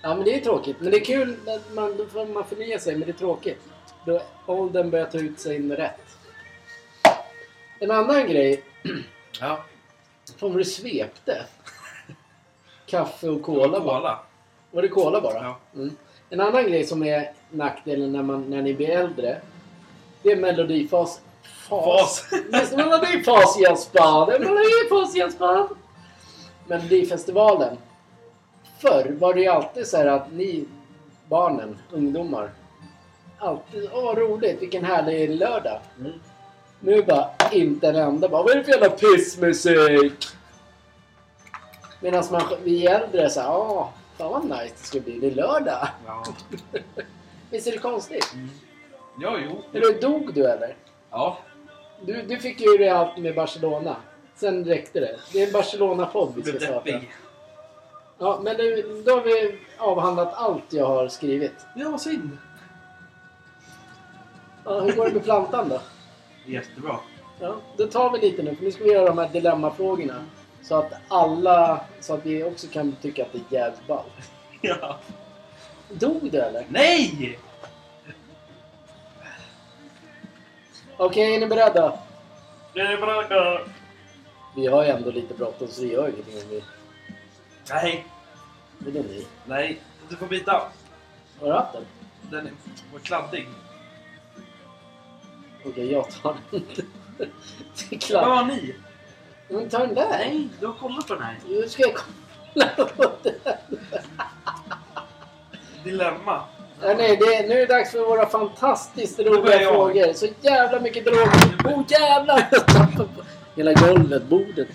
S1: Ja men det är tråkigt. Men det är kul, att man, då får man förnya sig, men det är tråkigt. Då åldern börjar ta ut sig in rätt. En annan grej
S2: ja.
S1: Fan vad du svepte. Kaffe och cola bara.
S2: Kola.
S1: Var det cola bara?
S2: Ja.
S1: Mm. En annan grej som är nackdelen när, man, när ni blir äldre. Det är melodifas.
S2: Fas.
S1: Just melodifas Jesper! Det är melodifas Jesper! Melodifestivalen. Förr var det ju alltid så här att ni barnen, ungdomar. Alltid, åh roligt, vilken härlig lördag.
S2: Mm.
S1: Nu bara, inte en enda bara, vad är det för jävla pissmusik? Medan man, vi äldre så här, åh, fan vad nice det ska bli, det är lördag.
S2: Ja.
S1: Visst är det konstigt?
S2: Mm. ja, jo.
S1: Eller dog du eller?
S2: Ja.
S1: Du, du fick ju det allt med Barcelona. Sen räckte det. Det är en Barcelona-podd vi
S2: Jag
S1: ska
S2: blev
S1: starta.
S2: deppig.
S1: Ja, men nu, då har vi avhandlat allt jag har skrivit.
S2: Ja, synd.
S1: Ja, hur går det med plantan då?
S2: Jättebra.
S1: Ja, då tar vi lite nu, för nu ska vi göra de här dilemmafrågorna. Så att alla, så att vi också kan tycka att det är jävligt ballt.
S2: Ja.
S1: Dog du eller?
S2: Nej!
S1: Okej, är ni beredda?
S2: Det är bra.
S1: Vi har ju ändå lite bråttom så vi gör ingenting om vi...
S2: Nej,
S1: Vadå ni?
S2: nej. Du får byta.
S1: Har du haft den?
S2: Den är- var kladdig.
S1: Okej, jag tar den. Det är
S2: Vad
S1: klart.
S2: har ni?
S1: Men ta den där!
S2: Nej, du har kollat på den här.
S1: Nu ska jag kolla på det.
S2: Dilemma.
S1: Ja, nej, det är, nu är det dags för våra fantastiskt
S2: Nu börjar
S1: roliga
S2: jag.
S1: frågor. Så jävla mycket droger. Åh oh, jävlar! Jag tappade på hela golvet, bordet.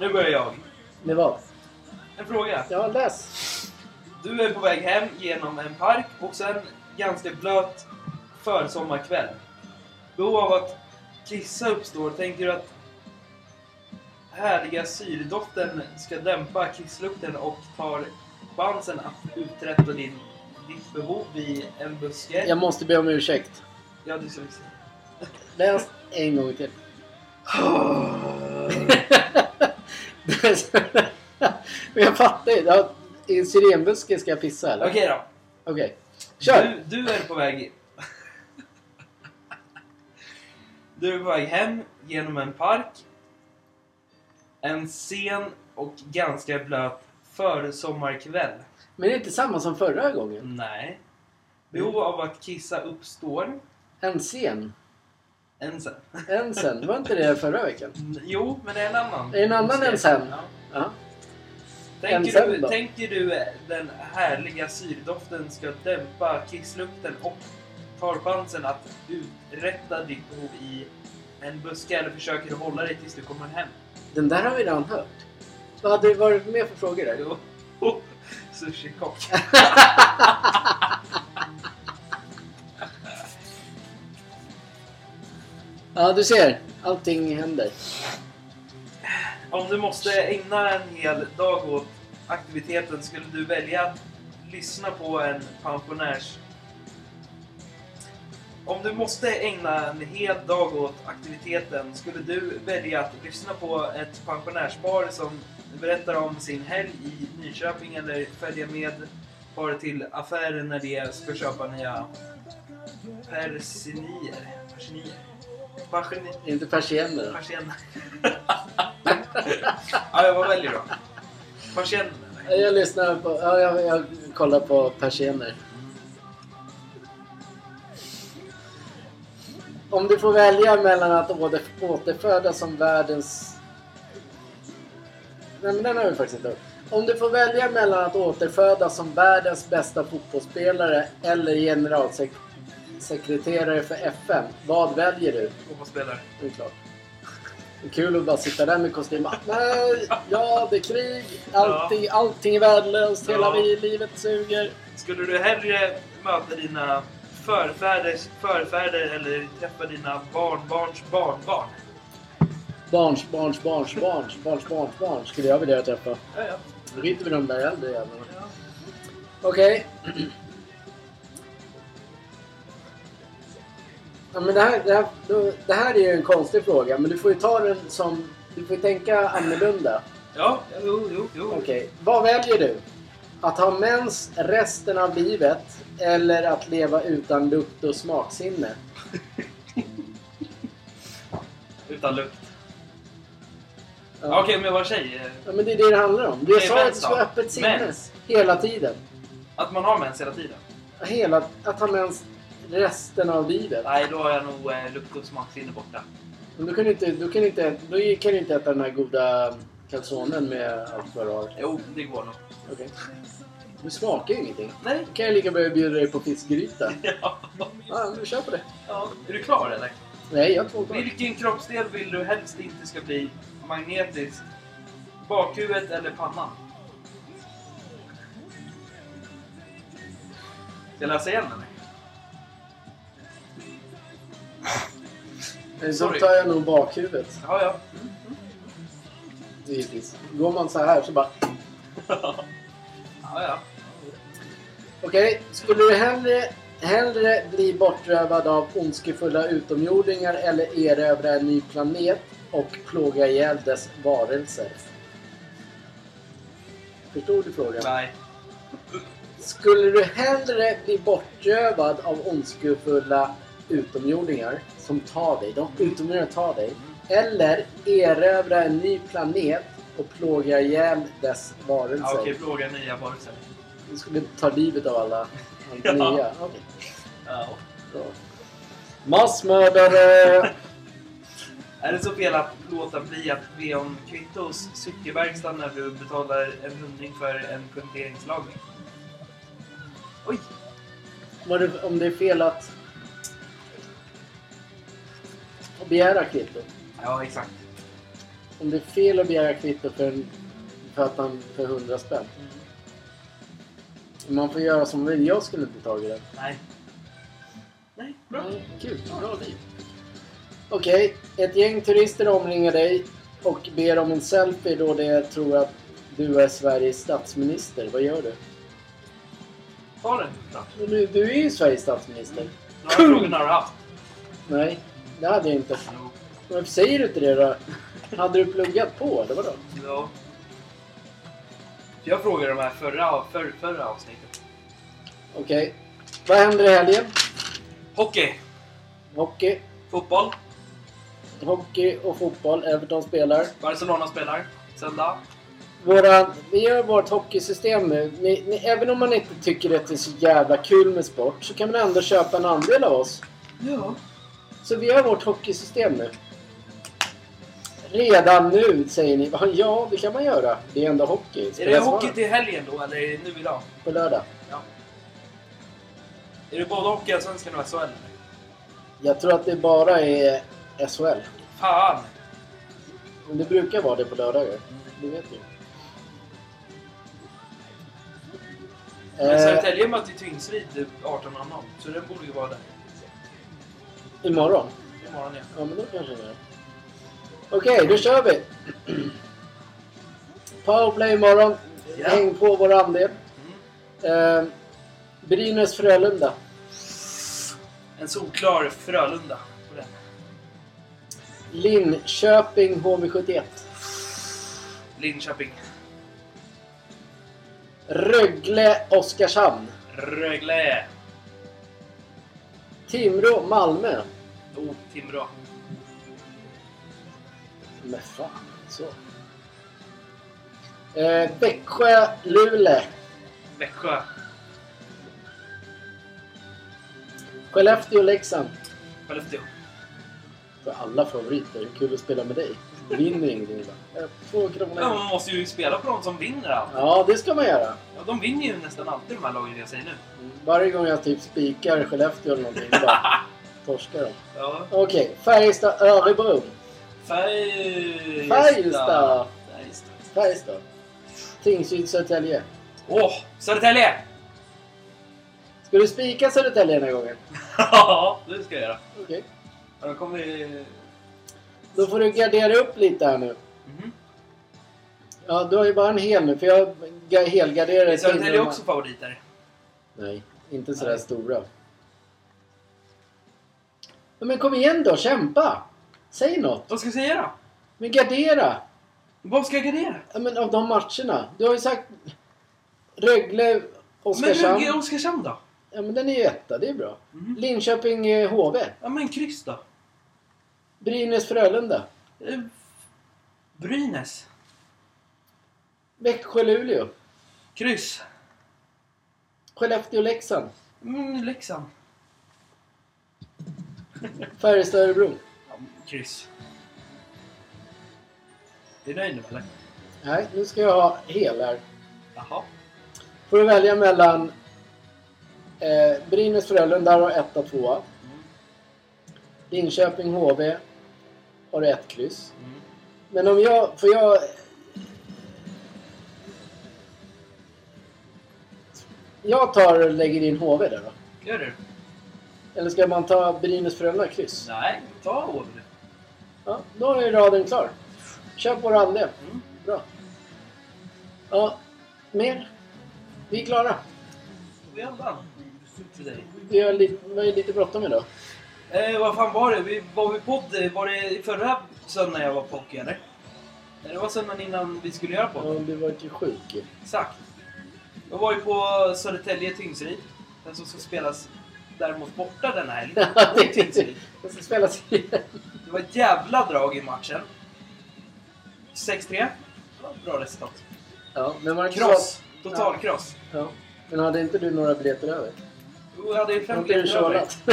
S2: Nu börjar jag.
S1: Med vad?
S2: En fråga.
S1: Ja, läs.
S2: Du är på väg hem genom en park och sen ganska blöt försommarkväll. Behov av att kissa uppstår. Tänker du att härliga syredoften ska dämpa kisslukten och tar chansen att uträtta din, ditt behov i en buske?
S1: Jag måste be om ursäkt.
S2: Ja, det ska vi se.
S1: Läs en gång till. Men jag fattar ju. Ja, I en syrenbuske ska jag pissa eller?
S2: Okej då.
S1: Okej. Kör!
S2: Du, du är på väg... du är på väg hem genom en park. En sen och ganska blöt försommarkväll.
S1: Men det är inte samma som förra gången.
S2: Nej. Behov av att kissa uppstår.
S1: En sen.
S2: En sen.
S1: En sen. Var inte det förra veckan?
S2: Jo, men det är en annan.
S1: Det är en annan en sen.
S2: Ja.
S1: Ja. En
S2: Tänker,
S1: sen
S2: du,
S1: då?
S2: tänker du eh, den härliga syrdoften ska dämpa kisslukten och tar chansen att uträtta ditt behov i en buske eller försöker du hålla dig tills du kommer hem?
S1: Den där har vi redan hört. Vad hade det varit mer för frågor där?
S2: Jo. Oh, Sushikock.
S1: Ja, du ser. Allting händer.
S2: Om du måste ägna en hel dag åt aktiviteten, skulle du välja att lyssna på en pensionärs... Om du måste ägna en hel dag åt aktiviteten, skulle du välja att lyssna på ett pensionärspar som berättar om sin helg i Nyköping eller följa med paret till affären när de ska köpa nya persinier? Persinier? Persinier?
S1: Inte persienner.
S2: Persienner. ja, jag vad väljer då? Persienner.
S1: Ja, Jag lyssnar på... Ja, jag, jag kollar på persienner. Om du får välja mellan att åter, återfödas som världens... Nej, men den har vi faktiskt inte hört. Om du får välja mellan att återfödas som världens bästa fotbollsspelare eller generalsekreterare för FN, vad väljer du?
S2: Och vad spelar?
S1: Det är klart. Det är kul att bara sitta där med kostym. Nej, ja, det är krig. Allting, allting är värdelöst. Hela
S2: Ja.
S1: vi, livet suger.
S2: Skulle du hellre möta dina förfäders förfäder eller träffa dina barnbarns barnbarn?
S1: Barns, barns, barns, barns, barns, barns, barns skulle jag vilja träffa.
S2: Ja, ja.
S1: Då skiter vi i de där äldre jävlarna.
S2: Ja.
S1: Okej. Ja, men det, här, det, här, då- det här är ju en konstig fråga, men du får ju ta den som... Du får ju tänka annorlunda.
S2: Ja, jo, jo, jo.
S1: Okej, vad väljer du? Att ha mens resten av livet eller att leva utan lukt och smaksinne?
S2: Utan lukt.
S1: Ja.
S2: Okej, men vad säger
S1: Ja, men det är det det handlar om. Du
S2: Okej,
S1: sa att du
S2: mens
S1: ska ha
S2: då.
S1: öppet sinne.
S2: Mens.
S1: Hela tiden.
S2: Att man har mens hela tiden?
S1: Hela, att ha mens resten av livet.
S2: Nej, då har jag nog eh, lukt och smaksinne borta.
S1: Men du kan du inte, du kan inte, du kan du inte äta den här goda calzonen med allt vad du har.
S2: Jo, det går nog.
S1: Okej. Du smakar ju ingenting.
S2: Nej.
S1: Då kan jag lika börja bjuda dig på fiskgryta.
S2: Ja.
S1: Ja, men kör på det.
S2: ja. Är du klar eller?
S1: Nej, jag har två kvar.
S2: Vilken kroppsdel vill du helst inte ska bli magnetisk? Bakhuvudet eller pannan? Ska jag läsa igen eller?
S1: Men så
S2: sorry.
S1: tar jag nog bakhuvudet.
S2: Ja, ja.
S1: Givetvis. Går man så här så bara...
S2: ja, ja.
S1: Okej, skulle du hellre, hellre bli bortrövad av ondskefulla utomjordingar eller erövra en ny planet och plåga ihjäl dess varelser? Förstod du frågan?
S2: Nej.
S1: Skulle du hellre bli bortrövad av ondskefulla utomjordingar som tar dig, de utomjordingar tar dig, eller erövra en ny planet och plåga ihjäl dess varelser?
S2: Ja, okej, plåga nya varelser.
S1: Du skulle ta livet av alla
S2: Ja.
S1: nya? Okej.
S2: Ja.
S1: Bra. Massmördare!
S2: Är det så fel att låta bli att be om kvitto hos cykelverkstaden när du betalar en hundring för en punkteringslagning? Oj!
S1: Var det, om det är fel att... Att begära kvitto.
S2: Ja, exakt.
S1: Om det är fel att begära kvitto för, en, för att han för 100 spänn.
S2: Mm.
S1: Man får göra som man vill. Jag skulle inte tagit det.
S2: Nej. Nej, bra.
S1: Mm, kul. Bra liv. Okej. Ett gäng turister omringar dig och ber om en selfie då de tror att du är Sveriges statsminister. Vad gör du?
S2: Ta den då.
S1: Men du, du är ju Sveriges statsminister.
S2: Några frågor har du haft.
S1: Nej, det hade jag inte.
S2: Jo.
S1: Varför säger du inte det då? Hade du pluggat på eller vadå?
S2: Ja. Jag frågade de här förra, för, förra avsnittet.
S1: Okej. Vad händer i helgen?
S2: Hockey,
S1: Hockey.
S2: fotboll,
S1: Hockey och fotboll. Everton spelar.
S2: Barcelona spelar söndag.
S1: Våra, vi gör vårt hockeysystem nu. Ni, ni, även om man inte tycker att det är så jävla kul med sport så kan man ändå köpa en andel av oss.
S2: Ja.
S1: Så vi gör vårt hockeysystem nu. Redan nu säger ni. "Va, Ja, det kan man göra. Det är ändå hockey.
S2: Är
S1: Spelas
S2: det
S1: imorgon,
S2: hockey till helgen då, eller är det nu idag?
S1: På lördag.
S2: Ja. Är det både Hockeyallsvenskan och SHL? eller?
S1: Jag tror att det bara är SHL.
S2: Fan!
S1: Men det brukar vara det på lördagar. Det vet du.
S2: Men
S1: Eh,
S2: Södertälje typ, möter ju Tingsryd 18.00, så den borde ju vara där.
S1: imorgon.
S2: imorgon ja.
S1: Ja, men då kanske det är. Okej, då kör vi! Powerplay imorgon.
S2: Ja.
S1: Häng på vår andel.
S2: Mm.
S1: Eh, Brynäs-Frölunda.
S2: En solklar Frölunda. på den.
S1: Linköping HV71.
S2: Linköping.
S1: Rögle-Oskarshamn.
S2: Rögle.
S1: Timrå-Malmö.
S2: Oh, Timrå.
S1: Men fan, så. Eh, Växjö-Luleå.
S2: Växjö.
S1: Skellefteå-Leksand.
S2: Skellefteå.
S1: För alla favoriter. Hur kul att spela med dig. Vinner ingenting va? Eh, Två kronor.
S2: Ja, man måste ju spela på de som vinner allt.
S1: Ja, det ska man göra.
S2: Ja, de vinner ju nästan alltid de här lagen jag säger nu.
S1: Varje gång jag typ spikar Skellefteå eller någonting, bara torskar de.
S2: Ja.
S1: Okej, Färjestad-Örebro.
S2: Färjestad.
S1: Färjestad!
S2: Färjestad.
S1: Färjestad. Tingsryd-Södertälje.
S2: Åh, Södertälje!
S1: Ska du spika Södertälje den här gången?
S2: Ja, det ska jag göra.
S1: Okej.
S2: Ja, De kommer ju...
S1: Då får du gardera upp lite här nu.
S2: Mhm.
S1: Ja, du har ju bara en hel nu, för jag ga- helgarderar
S2: Är
S1: ett
S2: Södertälje
S1: innan-
S2: också favoriter?
S1: Nej, inte sådär
S2: Nej.
S1: stora. Ja, Men kom igen då, kämpa! Säg något!
S2: Vad ska jag säga då?
S1: Men gardera!
S2: Vad ska jag gardera?
S1: Ja, men av de matcherna. Du har ju sagt Rögle,
S2: Men
S1: Oskarshamn.
S2: Rögle och Oskarshamn då?
S1: Ja, men den är ju etta, det är bra.
S2: Mhm.
S1: Linköping, eh, HV.
S2: Ja men kryss då?
S1: Brynäs, Frölunda.
S2: Eh, Brynäs?
S1: Växjö, Luleå.
S2: Kryss?
S1: Skellefteå, Leksand.
S2: Mm, Leksand?
S1: Färjestad, Örebro.
S2: Ja, men kryss. Är du nöjd nu eller?
S1: Nej, nu ska jag ha hel här.
S2: Jaha.
S1: Får du välja mellan eh, Brynäs, Frölunda har du etta, tvåa.
S2: Mm.
S1: Linköping, HV har du ett kryss.
S2: Mm.
S1: Men om jag... Får jag... Jag tar och lägger in HV där då.
S2: Gör du?
S1: Eller ska man ta Brynäs Frölunda kryss?
S2: Nej, ta Åby nu.
S1: Ja, då har ju raden klar. Kör på rande.
S2: Mm.
S1: Bra. Ja, mer? Vi är klara.
S2: Vi andan. Till dig.
S1: Vi har lite, vi har ju lite bråttom idag.
S2: Eh, vad fan var det? Vi, var vi podd? Var det i förra söndagen jag var pocky eller? Nej, det var söndagen innan vi skulle göra
S1: Ja,
S2: podd.
S1: du var ju sjuk ju.
S2: Exakt. Jag var ju på Södertälje Tingsryd. Den som ska spelas däremot borta denna helg. i Tingsryd.
S1: Det ska spelas igen.
S2: Det var ett jävla drag i matchen. 6-3. Det var ett Bra resultat.
S1: Ja, men var det inte så-
S2: Kross. Totalkross.
S1: Ja. Men hade inte du några biljetter över?
S2: Jo, jag hade ju fem
S1: Har inte du
S2: biljetter över.
S1: tjålat?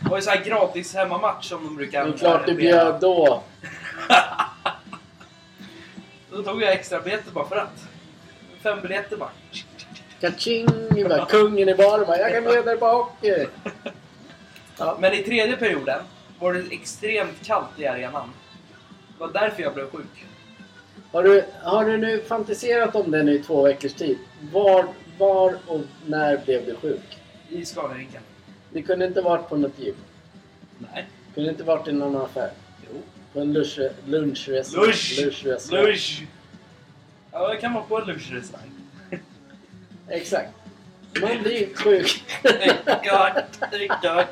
S2: Det var ju så här gratis hemmamatch som de
S1: Det
S2: brukar
S1: är klart du
S2: arrangera.
S1: bjöd då.
S2: Då tog jag extra biljetter bara för att. Fem biljetter bara.
S1: Kaching! Bara, kungen i baren bara, jag kan bjuda dig på hockey! Ja,
S2: Men i tredje perioden var det extremt kallt i arenan. Det var därför jag blev sjuk.
S1: har, du, har du nu fantiserat om det nu i två veckors tid? Var, var och när blev du sjuk?
S2: I Scaniarinken.
S1: Det kunde inte varit på något gym.
S2: Nej.
S1: Kunde inte varit i någon affär.
S2: Jo.
S1: På en lunch- lunchrestaurang.
S2: Lush!
S1: Lunchrestaurang.
S2: Lunch! Ja, jag kan vara på en lunchrestaurang.
S1: Exakt. Man blir sjuk.
S2: Gott, gott.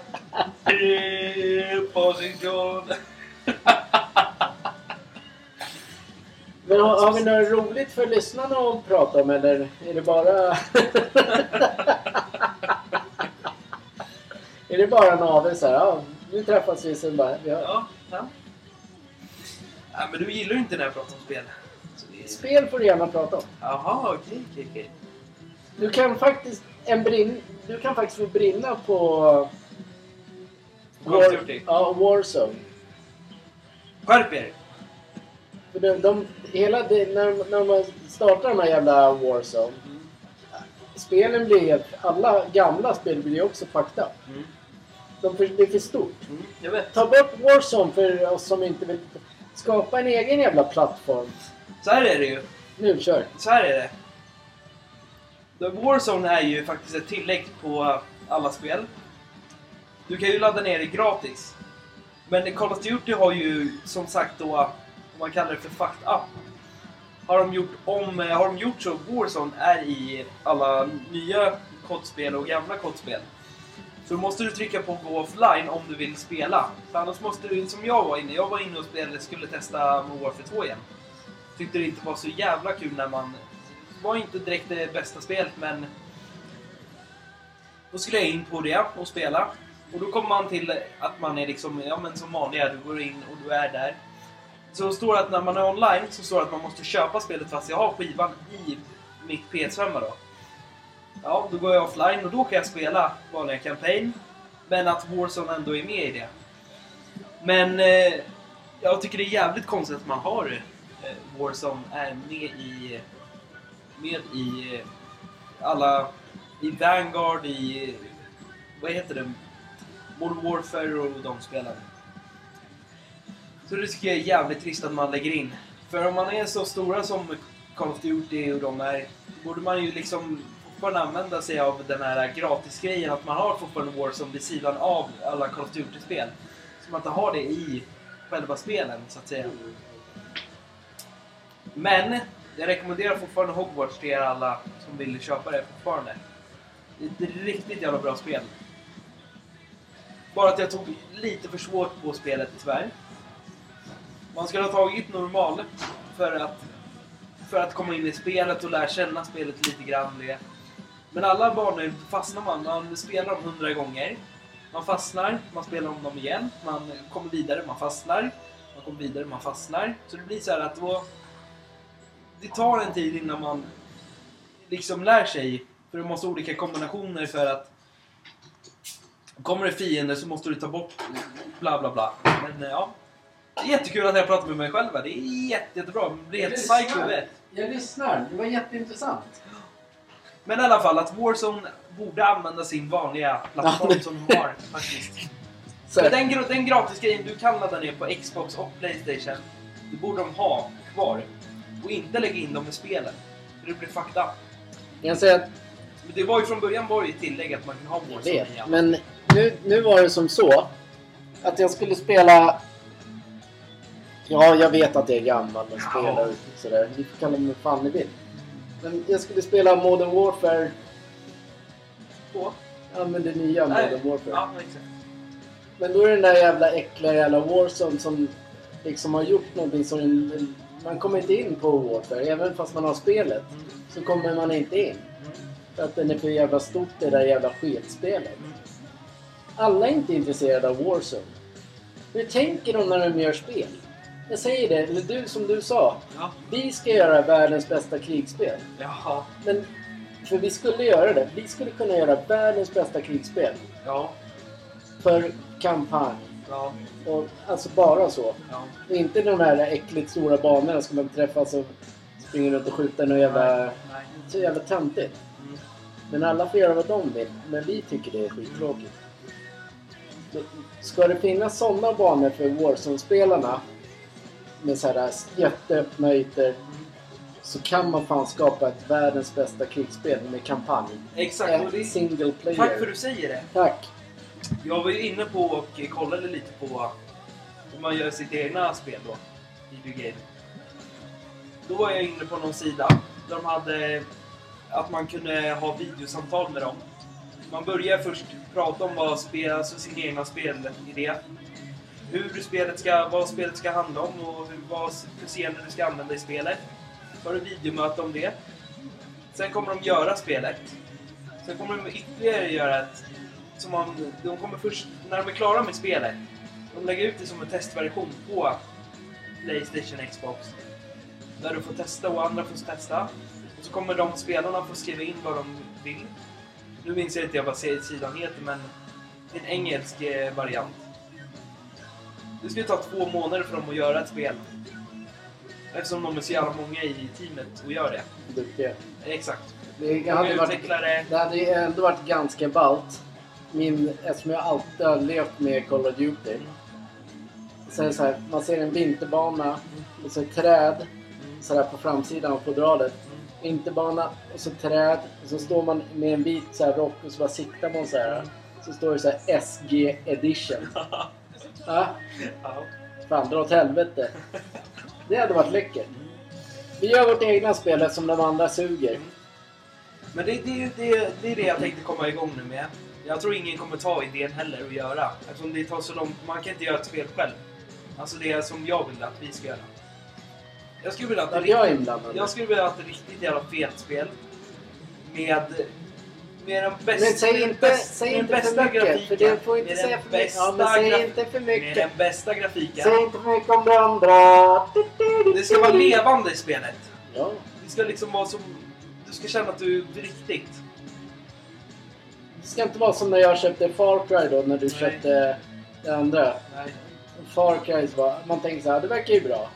S2: Eh, Position.
S1: Men har, har vi något roligt för lyssnarna att prata om eller är det bara... är det bara en avel så här, ja, nu träffas vi sen bara... Vi har...
S2: Ja, ja. Ja, men du gillar ju inte när jag pratar om spel. Så det är-
S1: Spel får du gärna prata om.
S2: Jaha, okej, okej, okej.
S1: Du kan faktiskt, en brinn, du kan faktiskt få brinna på...
S2: Call of Duty.
S1: ja, Warzone.
S2: Skärp er!
S1: För de, de, hela det, när, när man startar de här jävla Warzone,
S2: Mm.
S1: spelen blir helt... Alla gamla spel blir ju också fucked up.
S2: Mm.
S1: De för, det är för stort.
S2: Mm. Jag vet.
S1: Ta bort Warzone för oss som inte vill skapa en egen jävla plattform.
S2: Så här är det ju.
S1: Nu kör!
S2: Så här är det. The Warzone är ju faktiskt ett tillägg på alla spel. Du kan ju ladda ner det gratis. Men Call of Duty har ju som sagt då, om man kallar det för fucked up. Har de gjort, om, eh, har de gjort så Warzone är i alla nya kodspel och gamla kodspel. Så måste du trycka på gå offline om du vill spela. För annars måste du, som jag var inne, jag var inne och spelade, skulle testa Modern Warfare 2 igen. Tyckte det inte var så jävla kul när man... Det var inte direkt det bästa spelet men... Då skulle jag in på det och spela. Och då kommer man till att man är liksom, ja men som vanliga, du går in och du är där. Så står det att när man är online så står det att man måste köpa spelet fast jag har skivan i mitt PS5 då. Ja, då går jag offline och då kan jag spela vanliga campaign. Men att Warzone ändå är med i det. Men eh, jag tycker det är jävligt konstigt att man har eh, Warzone är med i, med i eh, alla, i Vanguard, i, eh, vad heter det, Modern Warfare och de spelen. Så det tycker jag är jävligt trist att man lägger in. För om man är så stora som Call of Duty och de är, då borde man ju liksom fortfarande använda sig av den här gratisgrejen att man har fortfarande Warzone vid sidan av alla Call of Duty-spel. Så man inte har det i själva spelen, så att säga. Men jag rekommenderar fortfarande Hogwarts till er alla som vill köpa det fortfarande. Det är ett riktigt jävla bra spel. Bara att jag tog lite för svårt på spelet tyvärr. Man skulle ha tagit normal för att, för att komma in i spelet och lära känna spelet lite grann. Det. Men alla banor fastnar man. Man spelar dem hundra gånger. Man fastnar, man spelar om dem igen. Man kommer vidare, man fastnar. Man kommer vidare, man fastnar. Så det blir så här att då... Det tar en tid innan man liksom lär sig. För du måste ha olika kombinationer för att... Kommer det fiender så måste du ta bort bla bla bla. Men eh, ja. Det är jättekul att jag pratar med mig själv. här. Det är jätte, jättebra. Man blir helt psycho. jag vet.
S1: Jag lyssnar. Det var jätteintressant.
S2: Men i alla fall att Warzone borde använda sin vanliga
S1: Ja,
S2: plattform
S1: det-
S2: som de har faktiskt.
S1: Så,
S2: Men den, gr- den gratisgrejen du kan ladda ner på Xbox och Playstation, det borde de ha kvar. Och inte lägga in dem i spelen. För det blir fucked up.
S1: jag kan säga att
S2: Men det var ju från början var det ju tillägg att man kan ha Warzone
S1: Jag
S2: i alla.
S1: vet, men nu, nu var det som så att jag skulle spela... Ja, jag vet att jag är gammal och spelar och sådär. Vi får kalla mig fan ni vill. Men jag skulle spela Modern Warfare,
S2: På.
S1: ja men det nya
S2: Nej.
S1: Modern Warfare.
S2: Ja, exakt.
S1: Men då är det den där jävla äckliga jävla Warzone som liksom har gjort någonting så den, man kommer inte in på Warfare. Även fast man har spelet
S2: Mm.
S1: så kommer man inte in.
S2: Mm.
S1: För att den är för jävla stort det där jävla skitspelet.
S2: Mm.
S1: Alla är inte intresserade av Warzone. Hur tänker de när de gör spel? Jag säger det, eller du som du sa.
S2: Ja.
S1: Vi ska göra världens bästa krigsspel.
S2: Jaha.
S1: Men, för vi skulle göra det. Vi skulle kunna göra världens bästa krigsspel.
S2: Ja.
S1: För kampanj.
S2: Ja.
S1: Och, alltså bara så.
S2: Ja.
S1: Och inte de här äckligt stora banorna ska man träffas och springa runt och skjuta något jävla...
S2: Nej.
S1: Så jävla töntigt.
S2: Mm.
S1: Men alla får göra vad de vill. Men vi tycker det är skittråkigt. Men Ska det finnas sådana banor för Warzone-spelarna med så här jätteöppna ytor så kan man fan skapa ett världens bästa krigsspel med kampanj.
S2: Exakt. Och det
S1: Ett
S2: är...
S1: single player.
S2: Tack för att du säger det.
S1: Tack.
S2: Jag var ju inne på och kollade lite på hur man gör sitt egna spel då. I The Game. Då var jag inne på någon sida där de hade att man kunde ha videosamtal med dem. Man börjar först prata om vad spel, alltså sin egna spelidé. Hur spelet ska, vad spelet ska handla om och hur, vad scener du ska använda i spelet. Så har du videomöte om det. Sen kommer de göra spelet. Sen kommer de ytterligare göra ett som man, de kommer först, när de är klara med spelet, de lägger ut det som en testversion på Playstation Xbox. Där du får testa och andra får testa. Och så kommer de spelarna få skriva in vad de vill. Nu minns jag inte jag vad sidan heter, men det är en engelsk eh, variant. Det skulle ta två månader för dem att göra ett spel. Eftersom de är så jävla många i teamet och gör det.
S1: Duktiga.
S2: Exakt.
S1: Det
S2: De
S1: hade
S2: är
S1: varit
S2: utvecklare.
S1: Det hade ju ändå varit ganska ballt. Min, eftersom jag alltid har levt med Call of Duty. Så är det så här, man ser en vinterbana och så ett träd så där på framsidan av fodralet. Vinterbana och så träd och så står man med en vit så här rock och så bara siktar man så här. Så står det så här SG edition. Ja,
S2: Ja.
S1: fan dra åt helvete. Det hade varit läckert. Vi gör vårt egna spel som de andra suger.
S2: Men det, det, det, det är det jag tänkte komma igång nu med. Jag tror ingen kommer ta idén heller och göra. Eftersom det tar så långt. Man kan inte göra ett spel själv. Alltså det är som jag vill att vi ska göra. Jag skulle vilja att det
S1: Att jag är inblandad.
S2: Jag skulle vilja ha ett riktigt jävla felspel. Med... Med den bästa...
S1: Men säg inte,
S2: bäst-
S1: säg
S2: med
S1: inte
S2: den
S1: för
S2: bästa
S1: mycket. För
S2: grafiken,
S1: du får inte
S2: med
S1: säga
S2: den
S1: för mycket.
S2: bästa
S1: Ja, men säg
S2: graf-
S1: inte för
S2: Med den
S1: mycket.
S2: bästa grafiken.
S1: Säg inte för mycket om det andra.
S2: Det ska vara levande i spelet.
S1: Ja.
S2: Det ska liksom vara som... Du ska känna att du är riktigt.
S1: Det ska inte vara som när jag köpte Far Cry då, när du
S2: Nej.
S1: köpte det andra.
S2: Nej.
S1: Far Cry, så bara, man tänker så här, det verkar ju bra.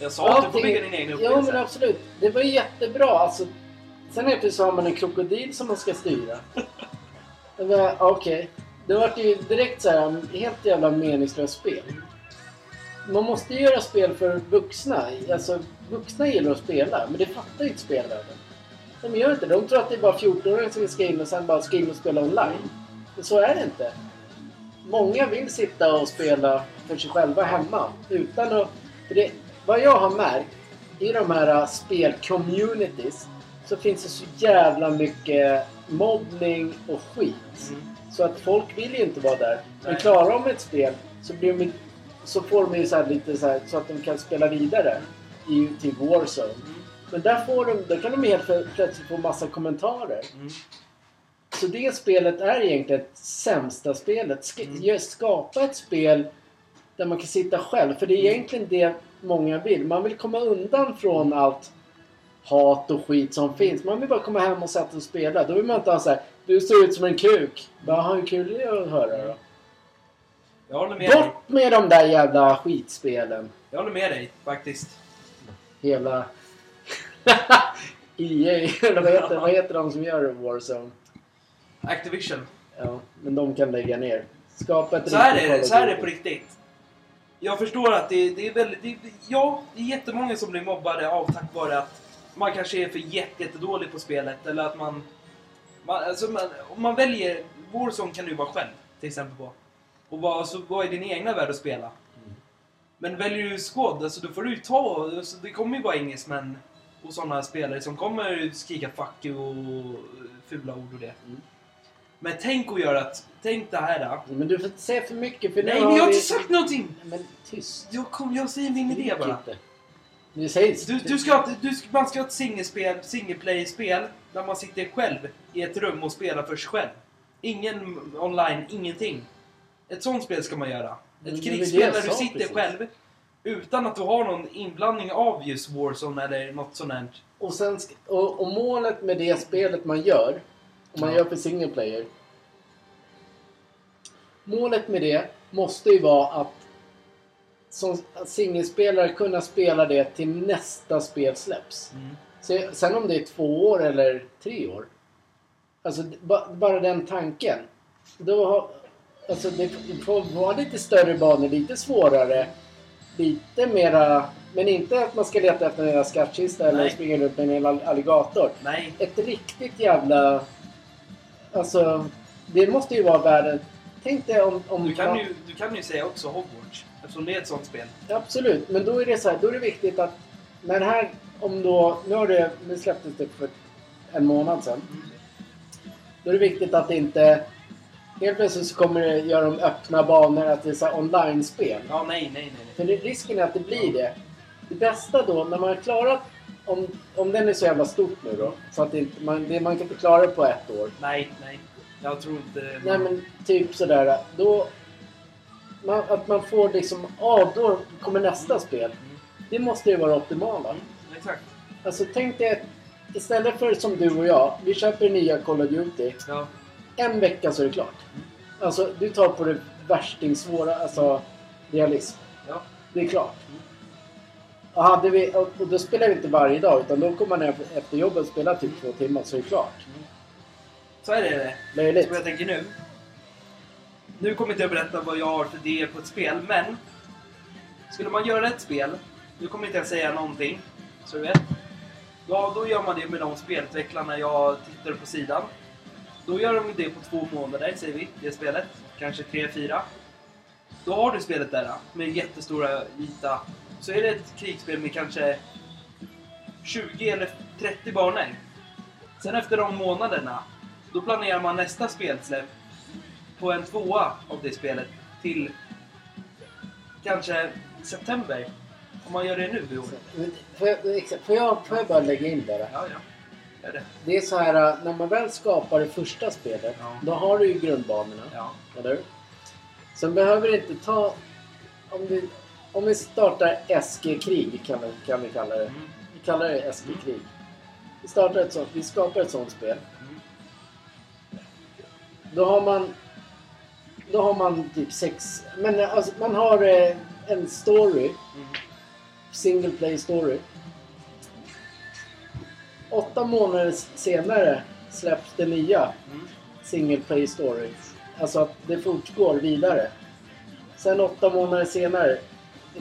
S2: Jag sa att Alltså, du får
S1: Allting-
S2: bygga din egen
S1: Ja,
S2: upplevelse.
S1: men absolut. Det var jättebra. Alltså, sen helt plötsligt har man en krokodil som man ska styra. Jag bara, Okej. Det var ju direkt så här, helt jävla meningslöst spel. Man måste ju göra spel för vuxna. Alltså, vuxna gillar att spela, men det fattar ju inte spelvärlden. De gör inte det. De tror att det är bara 14-åringar som ska in och sen bara ska in och spela online. Men så är det inte. Många vill sitta och spela för sig själva hemma. Utan att, för det, vad jag har märkt, i de här äh, spelcommunities så finns det så jävla mycket mobbning och skit.
S2: Mm.
S1: Så att folk vill ju inte vara där. Men
S2: Nej.
S1: klarar de ett spel så, blir de, så får de ju så här lite så, här, så att de kan spela vidare i, till Warzone.
S2: Mm.
S1: Men där får de, då kan de helt plö- plötsligt få massa kommentarer.
S2: Mm.
S1: Så det spelet är egentligen det sämsta spelet. Sk-
S2: Mm.
S1: just Skapa ett spel där man kan sitta själv. För det är
S2: Mm.
S1: egentligen det många vill. Man vill komma undan från allt hat och skit som finns. Man vill bara komma hem och sätta sig och spela. Då vill man inte ha så här. Du ser ut som en kuk. Bara, "Ha, hur kul är det att höra då?
S2: Jag håller med dig.
S1: Bort med de där jävla skitspelen.
S2: Jag håller med dig faktiskt.
S1: Hela... EA, eller vad heter, vad heter de som gör Warzone?
S2: Activision.
S1: Ja, men de kan lägga ner. Skapa ett
S2: Så här
S1: riktigt
S2: är det,
S1: Call of
S2: så här är
S1: Duty.
S2: det på riktigt. Jag förstår att det, det är väldigt... Det, ja, det är jättemånga som blir mobbade av tack vare att man kanske är för jätte, jättedålig på spelet eller att man... man, alltså man om man väljer... Warzone kan du vara själv, till exempel på. Och vad, så, vad är din egna värld att spela? Men väljer du squad, alltså då får du ju ta... Alltså, det kommer ju vara engelsmän och sådana spelare som kommer skrika 'fuck you' och fula ord och det.
S1: Mm.
S2: Men tänk att göra att... Tänk det här. Då.
S1: Men du får inte säga för mycket för nu
S2: Nej, men jag har
S1: vi-
S2: inte sagt någonting!
S1: Nej, Men tyst.
S2: Jag, kom, jag säger min idé
S1: Skrik
S2: bara.
S1: inte. Du säger
S2: Du, du ska, ha ett- du, ska- man ska ha ett singelspel, singleplay-spel där man sitter själv i ett rum och spelar för sig själv. Ingen online, ingenting. Ett sånt spel ska man göra.
S1: Mm, Men det
S2: Ett
S1: är väl det
S2: krigsspel
S1: jag
S2: där du
S1: sa
S2: sitter
S1: precis.
S2: själv utan att du har någon inblandning av just Warzone eller något sånt där.
S1: Och, sen, sk- och, och målet med det spelet man gör, om man
S2: Ja.
S1: gör för single player. Målet med det måste ju vara att som singelspelare kunna spela det till nästa spel släpps.
S2: Mm.
S1: Se- Sen om det är två år eller tre år. Alltså d- ba, bara den tanken. Då har, alltså det f- det får vara lite större banor, lite svårare. Lite mera... Men inte att man ska leta efter en jävla skattkista eller
S2: Nej.
S1: springa runt med en hel all- alligator.
S2: Nej.
S1: Ett riktigt jävla... Alltså, det måste ju vara världen... Tänk dig om... om
S2: Du kan,
S1: man-
S2: ju, du kan ju säga också Hogwarts eftersom det är ett sånt spel.
S1: Absolut, men då är det så här, då är det viktigt att när det här, om då, nu har det, nu släpptes det för en månad sedan. Då är det viktigt att det inte, helt plötsligt så kommer det göra de öppna banor, att det är så här online-spel.
S2: Ja, nej, nej, nej. nej.
S1: För det, risken är att det blir det. Det bästa då, när man har klarat, om, om den är så jävla stort nu då, så att det inte, man, det, man kan inte klara det på ett år.
S2: Nej, nej. Jag tror inte...
S1: Nej men typ sådär, då, man, att man får liksom, ja då kommer nästa spel.
S2: Mm.
S1: Det måste ju vara optimala.
S2: Mm, Exakt.
S1: Alltså tänk dig att istället för som du och jag, vi köper nya Call of Duty.
S2: Ja.
S1: En vecka så är det klart. Alltså du tar på det värsting svåra, alltså realism.
S2: Ja.
S1: Det är klart.
S2: Mm.
S1: Och, hade vi, och och då spelar vi inte varje dag utan då kommer man ner efter jobbet och spelar typ två timmar så är det klart.
S2: Så är det.
S1: Löjligt.
S2: Som jag tänker nu. Nu kommer inte jag berätta vad jag har för idéer på ett spel, men... Skulle man göra ett spel, nu kommer inte jag säga någonting, så du vet. Ja, då gör man det med de spelutvecklarna jag tittar på sidan. Då gör de ju det på två månader, säger vi, det spelet. Kanske tre, fyra. Då har du spelet där, med jättestora yta. Så är det ett krigsspel med kanske 20 eller 30 banor. Sen efter de månaderna, då planerar man nästa spelsläpp på en tvåa av det spelet till kanske september. Om man gör det nu i år.
S1: Men Får jag, exakt, får, jag, får jag bara lägga in där?
S2: Ja, ja. Gör det.
S1: Det är så här, äh, när man väl skapar det första spelet,
S2: Ja.
S1: då har du ju grundbanorna.
S2: Ja.
S1: Eller hur? Sen behöver det inte ta... Om vi, om vi startar SG-krig kan vi, kan vi kalla det.
S2: Mm.
S1: Vi kallar det SG-krig. Vi, startar ett sånt, vi skapar ett sånt spel.
S2: Mm.
S1: Då har man... Då har man typ sex... Men alltså, man har eh, en story.
S2: Mm.
S1: Single play story. Åtta månader senare släpps det nya
S2: Mm.
S1: single play story. Alltså att det fortgår vidare. Sen åtta månader senare,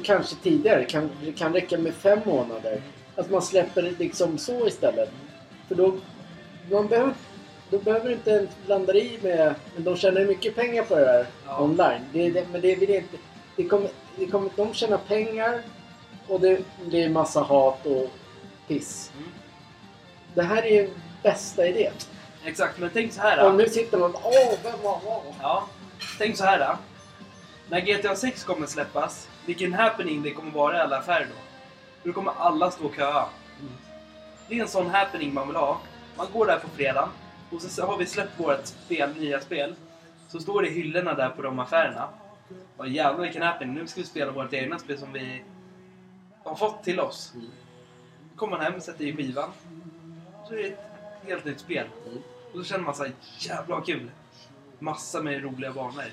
S1: kanske tidigare, kan, det kan räcka med fem månader. Att man släpper det liksom så istället. För då, man behöver, då behöver du inte blanda i med... Men de tjänar ju mycket pengar på det här
S2: Ja.
S1: online. Det, är det, men det vill jag inte... Det kommer, det kommer, de tjänar pengar och det blir massa hat och piss.
S2: Mm.
S1: Det här är ju bästa idén.
S2: Exakt, men tänk så här.
S1: Och nu sitter man och bara, åh, vem var vad?
S2: Ja. Tänk så här. Då. När GTA 6 kommer släppas, vilken happening det kommer vara i alla affärer då. Då kommer alla stå och köa.
S1: Mm.
S2: Det är en sån happening man vill ha. Man går där på fredagen och så har vi släppt vårt spel, nya spel. Så står det i hyllorna där på de affärerna. Vad jävlar vilken happening. Nu ska vi spela vårt egna spel som vi har fått till oss.
S1: Mm.
S2: Då kommer man hem och sätter i skivan. Så är det ett helt nytt spel.
S1: Mm.
S2: Och då känner man sig jävla vad kul. Massa med roliga banor.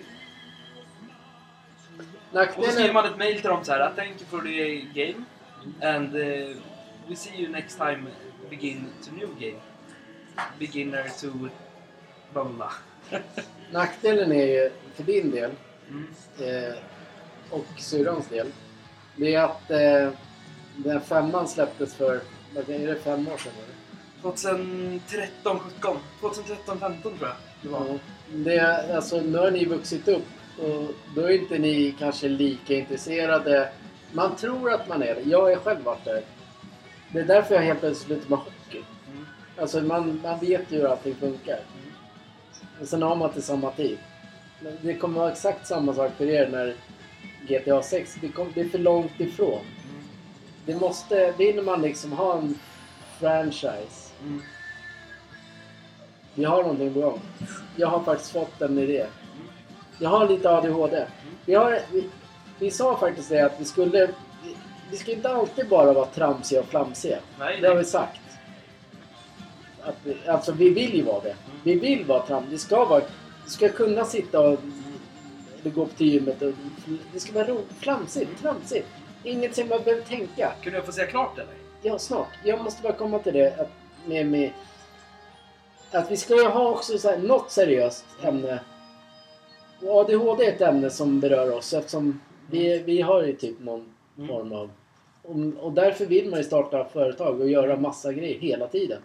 S2: Och så
S1: Nackdelen
S2: skriver man ett mail till dem så här. Thank you for the game. And eh, we see you next time. Begin to new game. Beginner to... Bla bla bla.
S1: Nackdelen är ju för din del
S2: Mm.
S1: eh, och syrrans del. Det är att eh, den här femman släpptes för, vad är det fem år sedan? eller?
S2: 2013, 17. 2013, 15 tror jag det var.
S1: Ja. Mm. Det, är- alltså, nu har ni vuxit upp och då är inte ni kanske lika intresserade. Man tror att man är det. Jag har själv varit där. Det är därför jag helt plötsligt slutar med hockey.
S2: Mm.
S1: Alltså man, man vet ju hur allting funkar.
S2: Mm.
S1: Och sen har man till samma tid. Men det kommer vara exakt samma sak för er när GTA 6, det, kom, det är för långt ifrån.
S2: Mm.
S1: Det måste, vill man liksom ha en franchise.
S2: Mm.
S1: Vi har någonting på gång. Jag har faktiskt fått en idé. Jag har lite ADHD. Vi, har, vi, vi sa faktiskt det att vi skulle... Vi, vi ska inte alltid bara vara tramsiga och flamsiga.
S2: Nej,
S1: Det har vi
S2: nej.
S1: sagt. Att vi, alltså vi vill ju vara det. Vi vill vara tram. Vi ska vara... Vi ska kunna sitta och... Eller gå upp till gymmet och... Det ska vara roligt. Flamsigt. Tramsigt. Ingenting man behöver tänka.
S2: Kunde jag få säga klart eller?
S1: Ja, snart. Jag måste bara komma till det. Att, med, med, att vi ska ju ha också så här, något seriöst ämne. Och ADHD är ett ämne som berör oss eftersom vi, vi har ju typ någon
S2: Mm.
S1: form av... Och, och därför vill man ju starta företag och göra massa grejer hela tiden.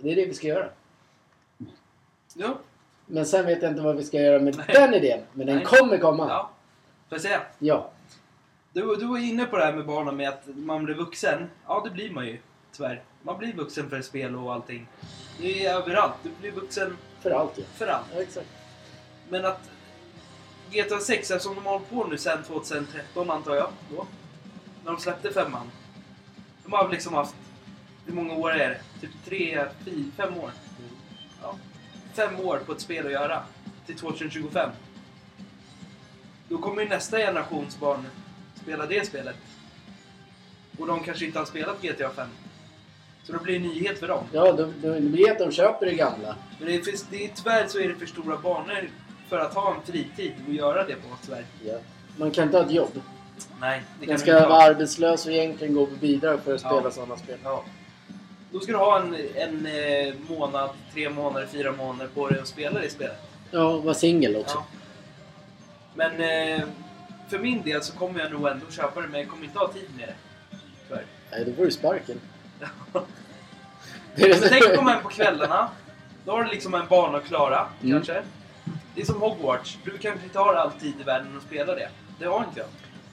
S1: Det är det vi ska göra.
S2: Ja.
S1: Men sen vet jag inte vad vi ska göra med
S2: Nej.
S1: den idén. Men den
S2: Nej.
S1: kommer komma. Ja.
S2: ja. Får jag säga?
S1: ja.
S2: Du, du var inne på det här med barnen med att man blir vuxen. Ja, det blir man ju. Tyvärr. Man blir vuxen för spel och allting. Det är överallt. Du blir vuxen
S1: För allt ju.
S2: för allt.
S1: Ja, exakt.
S2: Men att GTA 6, eftersom de har hållit på nu sedan 2013 antar jag, då, när de släppte femman. De har väl liksom haft, hur många år är det? Typ tre, fy- fem år? Ja. Fem år på ett spel att göra, till 2025. Då kommer ju nästa generations barn spela det spelet. Och de kanske inte har spelat GTA 5. Så det blir en nyhet för dem.
S1: Ja, de, de, de vet att de köper det gamla.
S2: Men det finns, det är, tyvärr så är det för stora banor för att ha en fritid och göra det på tyvärr.
S1: Ja. Man kan inte ha ett jobb.
S2: Nej, det kan
S1: Den
S2: du
S1: ska
S2: inte ha.
S1: vara arbetslös och egentligen gå på bidrag för att
S2: Ja.
S1: spela sådana spel.
S2: Ja. Då ska du ha en, en eh, månad, tre månader, fyra månader på dig att spela det spelet.
S1: Ja, och vara singel också.
S2: Ja. Men eh, för min del så kommer jag nog ändå köpa det, men jag kommer inte ha tid med det. Tyvärr.
S1: Nej, då får du sparken.
S2: Men Tänk att komma hem på kvällarna. Då har du liksom en bana att klara,
S1: Mm.
S2: kanske. Det är som Hogwarts. Du kanske inte har all tid i världen att spela det. Det har inte jag.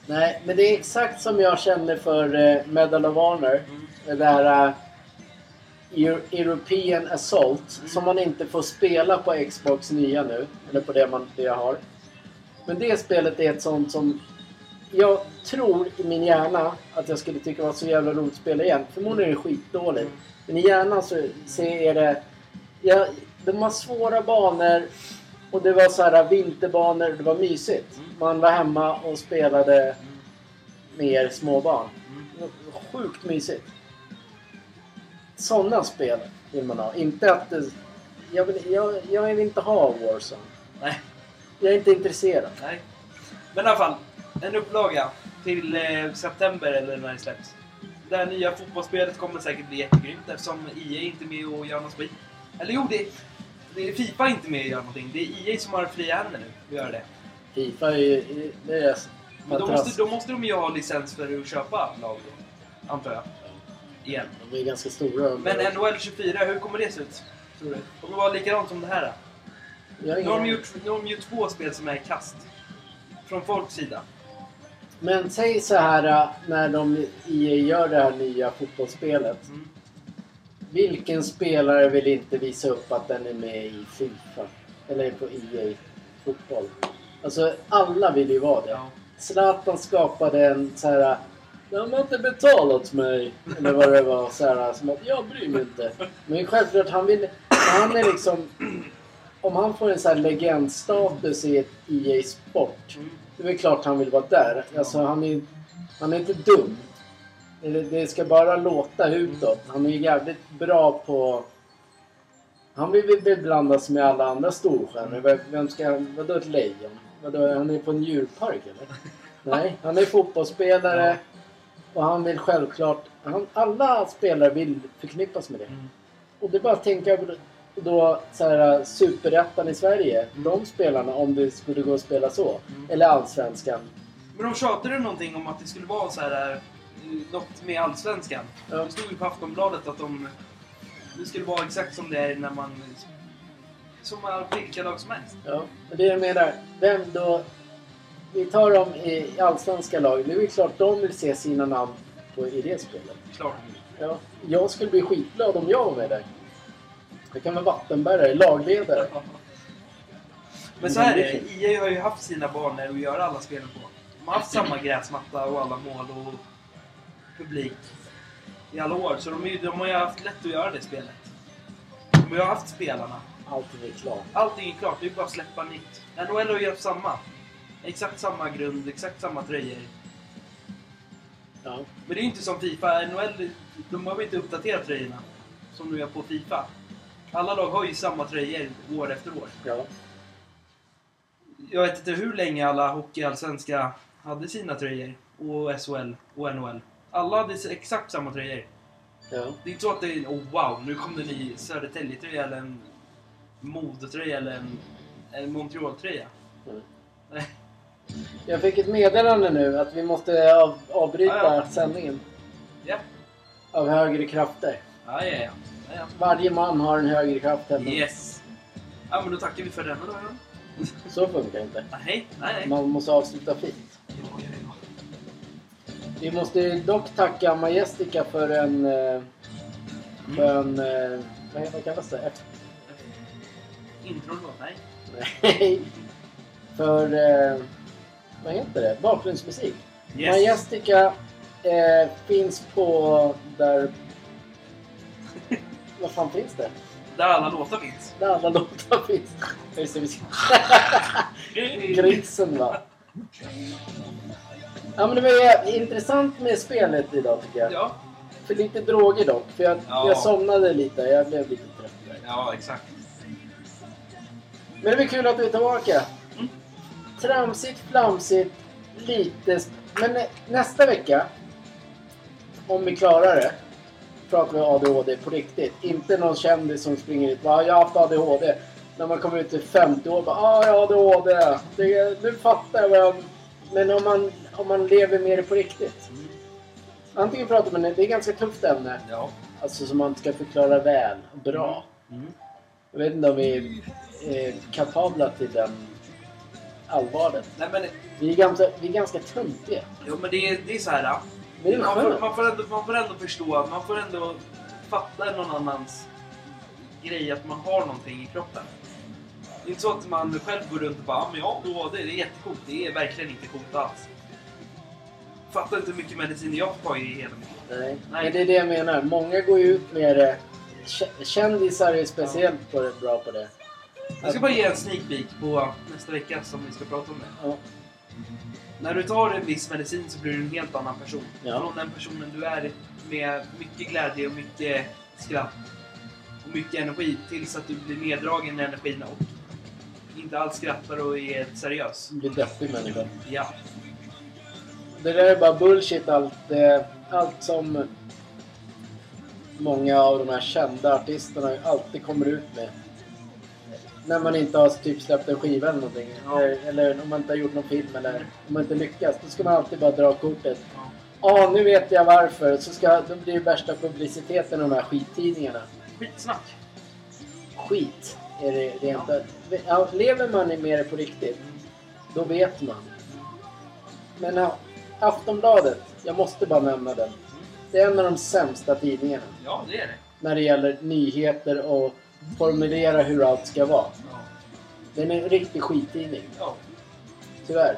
S1: Nej, men det är exakt som jag känner för eh, Medal of Honor.
S2: Mm.
S1: Det där eh, Eu- European Assault
S2: Mm.
S1: som man inte får spela på Xbox nya nu. Eller på det, man, det jag har. Men det spelet är ett sånt som jag tror i min hjärna att jag skulle tycka var så jävla roligt att spela igen. Förmodligen är det skitdåligt.
S2: Mm.
S1: Men i hjärnan så, så är det... Ja, de har svåra banor och det var så här vinterbanor och det var mysigt.
S2: Mm.
S1: Man var hemma och spelade
S2: Mm.
S1: mer småbarn.
S2: Mm.
S1: Sjukt mysigt. Sådana spel vill man ha. Inte att det, jag, vill, jag, jag vill inte ha Warzone.
S2: Nej,
S1: Jag är inte intresserad.
S2: nej. Men i alla fall, en upplaga till eh, september eller när det släpps. Det här nya fotbollsspelet kommer säkert bli jättegrymt eftersom EA inte är med och gör något skit. Eller jo, det, det är Fifa inte med och gör någonting. Det är EA som har fria händer nu att göra det.
S1: Fifa är ju... Det är deras
S2: Men då
S1: matras.
S2: måste, då måste de ju ha licens för att köpa lag då, antar jag. Igen.
S1: De är ganska stora.
S2: Men NHL 24, hur kommer det se ut? Tror du? Kommer det vara likadant som det här? Då?
S1: Jag har
S2: Nu har de
S1: ingen-
S2: gjort, nu har de gjort två spel som är kast. Från folks sida.
S1: Men säg så här äh, när de EA gör det här nya fotbollsspelet.
S2: Mm.
S1: Vilken spelare vill inte visa upp att den är med i Fifa? Eller på EA fotboll? Alltså alla vill ju vara det.
S2: Ja.
S1: Zlatan skapade en så här... äh, De har inte betalat mig. Eller vad det var. Så här, äh, som att jag bryr mig inte. Men självklart, han vill... Han är liksom... Om han får en så här legendstatus i ett EA Sport.
S2: Mm.
S1: Det är väl klart han vill vara där. Alltså han är, han är inte dum. Det, det ska bara låta utåt. Han är ju jävligt bra på... Han vill väl beblandas med alla andra storstjärnor. Vem- Vem ska han... Vadå ett lejon? Vadå, han är på en djurpark eller? Nej, han är fotbollsspelare. Och han vill självklart... Han, alla spelare vill förknippas med det.
S2: Mm.
S1: Och det är bara att tänka på då så här, äh, superettan i Sverige.
S2: Mm.
S1: De spelarna, om det skulle gå att spela så.
S2: Mm.
S1: Eller allsvenskan.
S2: Men de tjatade någonting om att det skulle vara så här eh, något med Allsvenskan.
S1: Ja.
S2: Det stod ju på Aftonbladet att de... Det skulle vara exakt som det är när man... Som all- vilka lag som helst.
S1: Ja, men det jag menar. Vem då? Vi tar dem i allsvenska lag. Det är ju klart de vill se sina namn på, i det spelet.
S2: Klart.
S1: Ja, jag skulle bli skitglad om jag var med där. Jag kan vara vattenbärare, lagledare.
S2: Men så här är
S1: Mm.
S2: det. EA har ju haft sina banor att göra alla spelen på. De har haft samma gräsmatta och alla mål och publik i alla år. Så de, är, ju- de har ju haft lätt att göra det spelet. De har ju haft spelarna.
S1: Allting är klart.
S2: Allting är klart, det är bara att släppa nytt. NHL har ju haft samma. Exakt samma grund, exakt samma tröjor.
S1: Ja.
S2: Men det är ju inte som Fifa. NHL, de behöver inte uppdatera tröjorna. Som du gör på Fifa. Alla lag har ju samma tröjor år efter år.
S1: ja.
S2: Jag vet inte hur länge alla hockeyallsvenska hade sina tröjor. Och SHL och NHL. Alla hade exakt samma tröjor.
S1: ja.
S2: Det är inte så att det är oh, wow, nu kom det en ny Södertälje-tröja eller en Modetröja eller en, en Montreal-tröja.
S1: Mm.
S2: Nej.
S1: Jag fick ett meddelande nu att vi måste av, avbryta
S2: Ja, ja.
S1: sändningen.
S2: Ja.
S1: Av högre krafter.
S2: Ja, ja, ja. ja,
S1: Varje man har en högre kraft
S2: ja.
S1: än
S2: Yes! Ja, men då tackar vi för denna dag. då.
S1: Så funkar det inte.
S2: Nej, nej, nej.
S1: Man måste avsluta fint.
S2: Ja, ja, ja.
S1: Vi måste dock tacka Majestica för en... eh, För en eh, vad heter- vad kallas det? Efter,
S2: Intron då? Nej.
S1: nej. För... eh, Vad heter det? Bakgrundsmusik. Majestica eh, finns på där... Vad fan finns det?
S2: Där alla låtar finns.
S1: Där alla låtar finns. Just det, vi ska- Grisen va? Ja men det var ju intressant med spelet idag tycker jag.
S2: Ja.
S1: För lite droger dock. För jag,
S2: Ja.
S1: jag somnade lite. Jag blev lite trött där.
S2: ja, exakt.
S1: Men det blir kul att du är tillbaka.
S2: Mm.
S1: Tramsigt, flamsigt, lite... Men nä- nästa vecka, om vi klarar det, pratar vi ADHD på riktigt. Inte någon kändis som springer ut och bara, jag har haft ADHD. När man kommer ut till 50 år bara, ah, jag har ADHD. Det, nu fattar jag vad jag... Men om man, om man lever med det på riktigt. Antingen pratar man... Det är ett ganska tufft ämne.
S2: Ja.
S1: Alltså som man ska förklara väl, bra.
S2: Mm.
S1: Jag vet inte om vi är kapabla till den allvaret.
S2: Nej, men,
S1: Vi är ganska, vi är ganska töntiga.
S2: jo, men det, är- det är så här.
S1: Men det är
S2: man, får,
S1: skönt.
S2: man, får ändå, man får ändå förstå, att man får ändå fatta någon annans grej, att man har någonting i kroppen. Det är inte så att man själv går runt och bara "Ah, men jag har ADHD, det är jättecoolt. Det är verkligen inte coolt alls. Fattar inte hur mycket medicin jag får ta i hela mitt liv.
S1: Nej.
S2: Nej.
S1: Men det är det jag menar. Många går ju ut med det. Kä- Kändisar är speciellt på det, bra på det.
S2: Jag ska bara ge en sneak peek på nästa vecka som vi ska prata om det.
S1: Ja.
S2: När du tar en viss medicin så blir du en helt annan person.
S1: Ja.
S2: Från den personen du är med mycket glädje och mycket skratt och mycket energi tills att du blir neddragen i energin och inte alls skrattar och är seriös.
S1: Blir deppig människa.
S2: Ja.
S1: Det där är bara bullshit allt. eh, Allt som många av de här kända artisterna alltid kommer ut med. När man inte har typ släppt en skiva eller någonting.
S2: Ja.
S1: Eller, eller om man inte har gjort någon film eller om man inte lyckas. Då ska man alltid bara dra kortet.
S2: ja.
S1: Ja, nu vet jag varför. Så ska, då blir det värsta publiciteten i de här skittidningarna.
S2: Skitsnack.
S1: Skit är det rent
S2: Ja.
S1: ut. ja. Lever man med det på riktigt, då vet man. Men ja, Aftonbladet, jag måste bara nämna den. Det är en av de sämsta tidningarna
S2: Ja, det är det.
S1: när det gäller nyheter och formulera hur allt ska vara.
S2: Ja.
S1: Den är en riktig skittidning,
S2: Ja.
S1: tyvärr.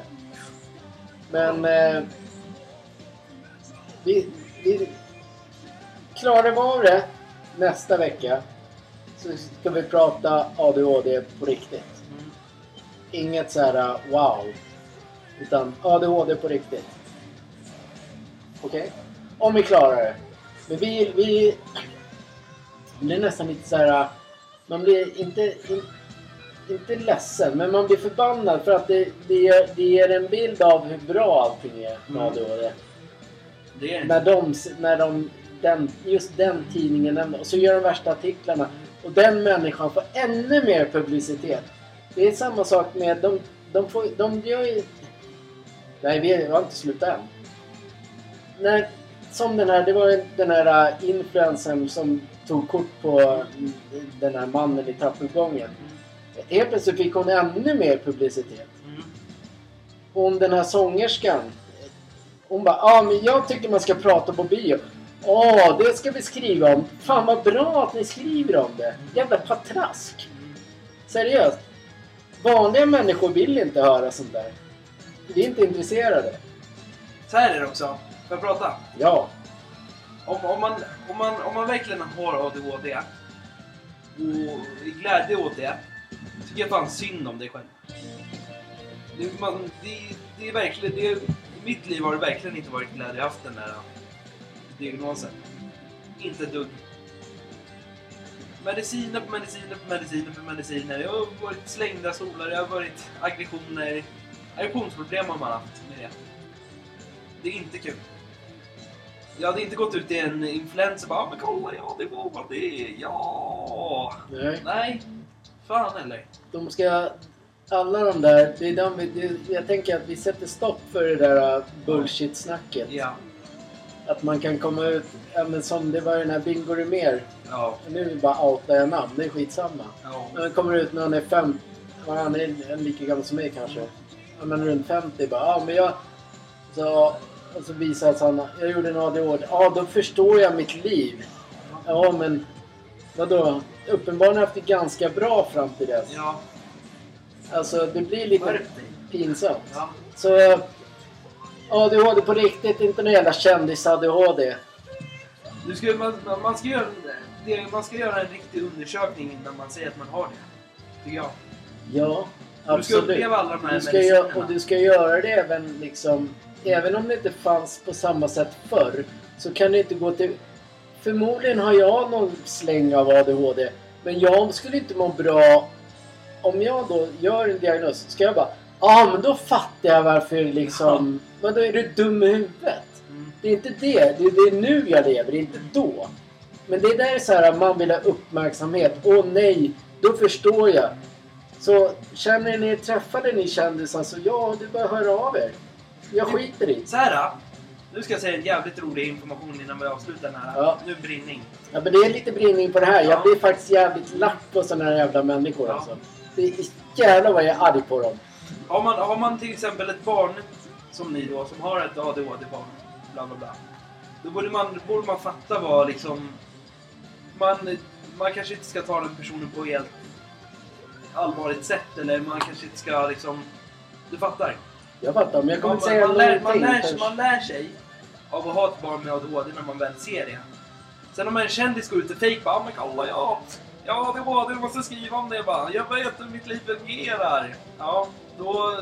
S1: Men eh, vi, vi klarar vi av det nästa vecka så ska vi prata ADHD på riktigt.
S2: Mm.
S1: Inget så här uh, wow. Utan ADHD på riktigt. Okej? Om vi klarar det. Men vi, vi blir nästan lite så här... uh, Man blir inte, in, inte ledsen, men man blir förbannad för att det, det, ger- det ger en bild av hur bra allting är med
S2: Mm.
S1: ADHD.
S2: Det är det.
S1: När de, s- när de den, just den tidningen nämner. Och så gör de värsta artiklarna. Och den människan får ännu mer publicitet. Det är samma sak med... De, de, får, de gör ju... Nej, vi har inte slutat än. När, som den här, det var ju den här äh, influencern som tog kort på mm, den här mannen i trappuppgången. Helt plötsligt fick hon ännu mer publicitet
S2: Mm.
S1: hon den här sångerskan. Hon bara, ja ah, men jag tycker man ska prata på bio. Åh, det ska vi skriva om. Fan vad bra att ni skriver om det. Jävla patrask. Seriöst. Vanliga människor vill inte höra sånt där. Vi är inte intresserade.
S2: Så här är det också. Får jag prata?
S1: Ja.
S2: Om, om, man, om, man, om man verkligen har ADHD och är glädje åt det, tycker jag fan synd om dig själv. Det, man, det, det är verkligen, det, I mitt liv har det verkligen inte varit glädje jag haft den där diagnosen. Inte ett dugg. Mediciner på mediciner på mediciner på mediciner. Jag har varit slängda solar, jag har varit aggressioner. Aggressionsproblem har man haft med det. Det är inte kul. Jag hade inte gått ut i en influencer och bara "Ah, men kolla ja det var vad det är, ja.
S1: Nej.
S2: Nej, fan eller.
S1: De ska... Alla de där, det är de, vi- det, jag tänker att vi sätter stopp för det där äh, bullshit-snacket.
S2: Ja,
S1: Att man kan komma ut, ja, men som det var den här Bingo mer.
S2: ja,
S1: Nu bara outar jag namn, det är skitsamma.
S2: ja.
S1: Men han kommer ut när han är fem... ja, Han är en lika gammal som mig kanske. Ja, Men runt 50 bara, ja men jag... Så, och så visar att han, jag gjorde en ADHD. Ja, då förstår jag mitt liv. Ja, men vadå? Uppenbarligen har jag haft det ganska bra fram till dess.
S2: Ja,
S1: Alltså, det blir lite
S2: skärp dig.
S1: pinsamt.
S2: Ja,
S1: Så eh, ADHD på riktigt, inte någon jävla kändis-ADHD.
S2: du ska, man, man- man, ska göra, en- det, man ska göra en riktig undersökning innan man säger att man har det. Tycker jag.
S1: Ja,
S2: Du ska
S1: absolut.
S2: uppleva alla de här
S1: Du ska
S2: medicinerna.
S1: göra, och du ska göra det även liksom... Även om det inte fanns på samma sätt förr så kan du inte gå till... Förmodligen har jag någon släng av ADHD. Men jag skulle inte må bra... Om jag då gör en diagnos, ska jag bara... Ja, ah, men då fattar jag varför liksom... Men då är du dum i huvudet.
S2: Mm.
S1: Det är inte det. Det är, det är nu jag lever, det är inte då. Men det är där så här, man vill ha uppmärksamhet. Åh nej, då förstår jag. Så känner ni er träffade ni kändisar så ja, du bara hör av er. Jag skiter i.
S2: Så här, Nu ska jag säga en jävligt rolig information innan vi avslutar den här.
S1: Ja.
S2: Nu brinning.
S1: Ja, men det är lite brinning på det här. Jag
S2: Ja.
S1: blir faktiskt jävligt lack på såna här jävla människor
S2: Ja.
S1: alltså. Det är, jävlar vad jag är arg på dem.
S2: Har man, har man till exempel ett barn, som ni då, som har ett ADHD-barn, bla bla bla. Då borde man, borde man fatta vad liksom... Man, man kanske inte ska ta den personen på helt allvarligt sätt, eller man kanske inte ska liksom... Du fattar?
S1: Jag fattar, men jag kommer
S2: Man,
S1: inte säga
S2: man, lär, man,
S1: någonting
S2: lär, sig-
S1: förrän-
S2: man lär sig av att ha ett barn med ADHD när man väl ser det. Sen om en kändis går ut och fejkar, men kolla jag, jag har ADHD, du måste skriva om det bara. Jag vet hur mitt liv fungerar. Ja, då,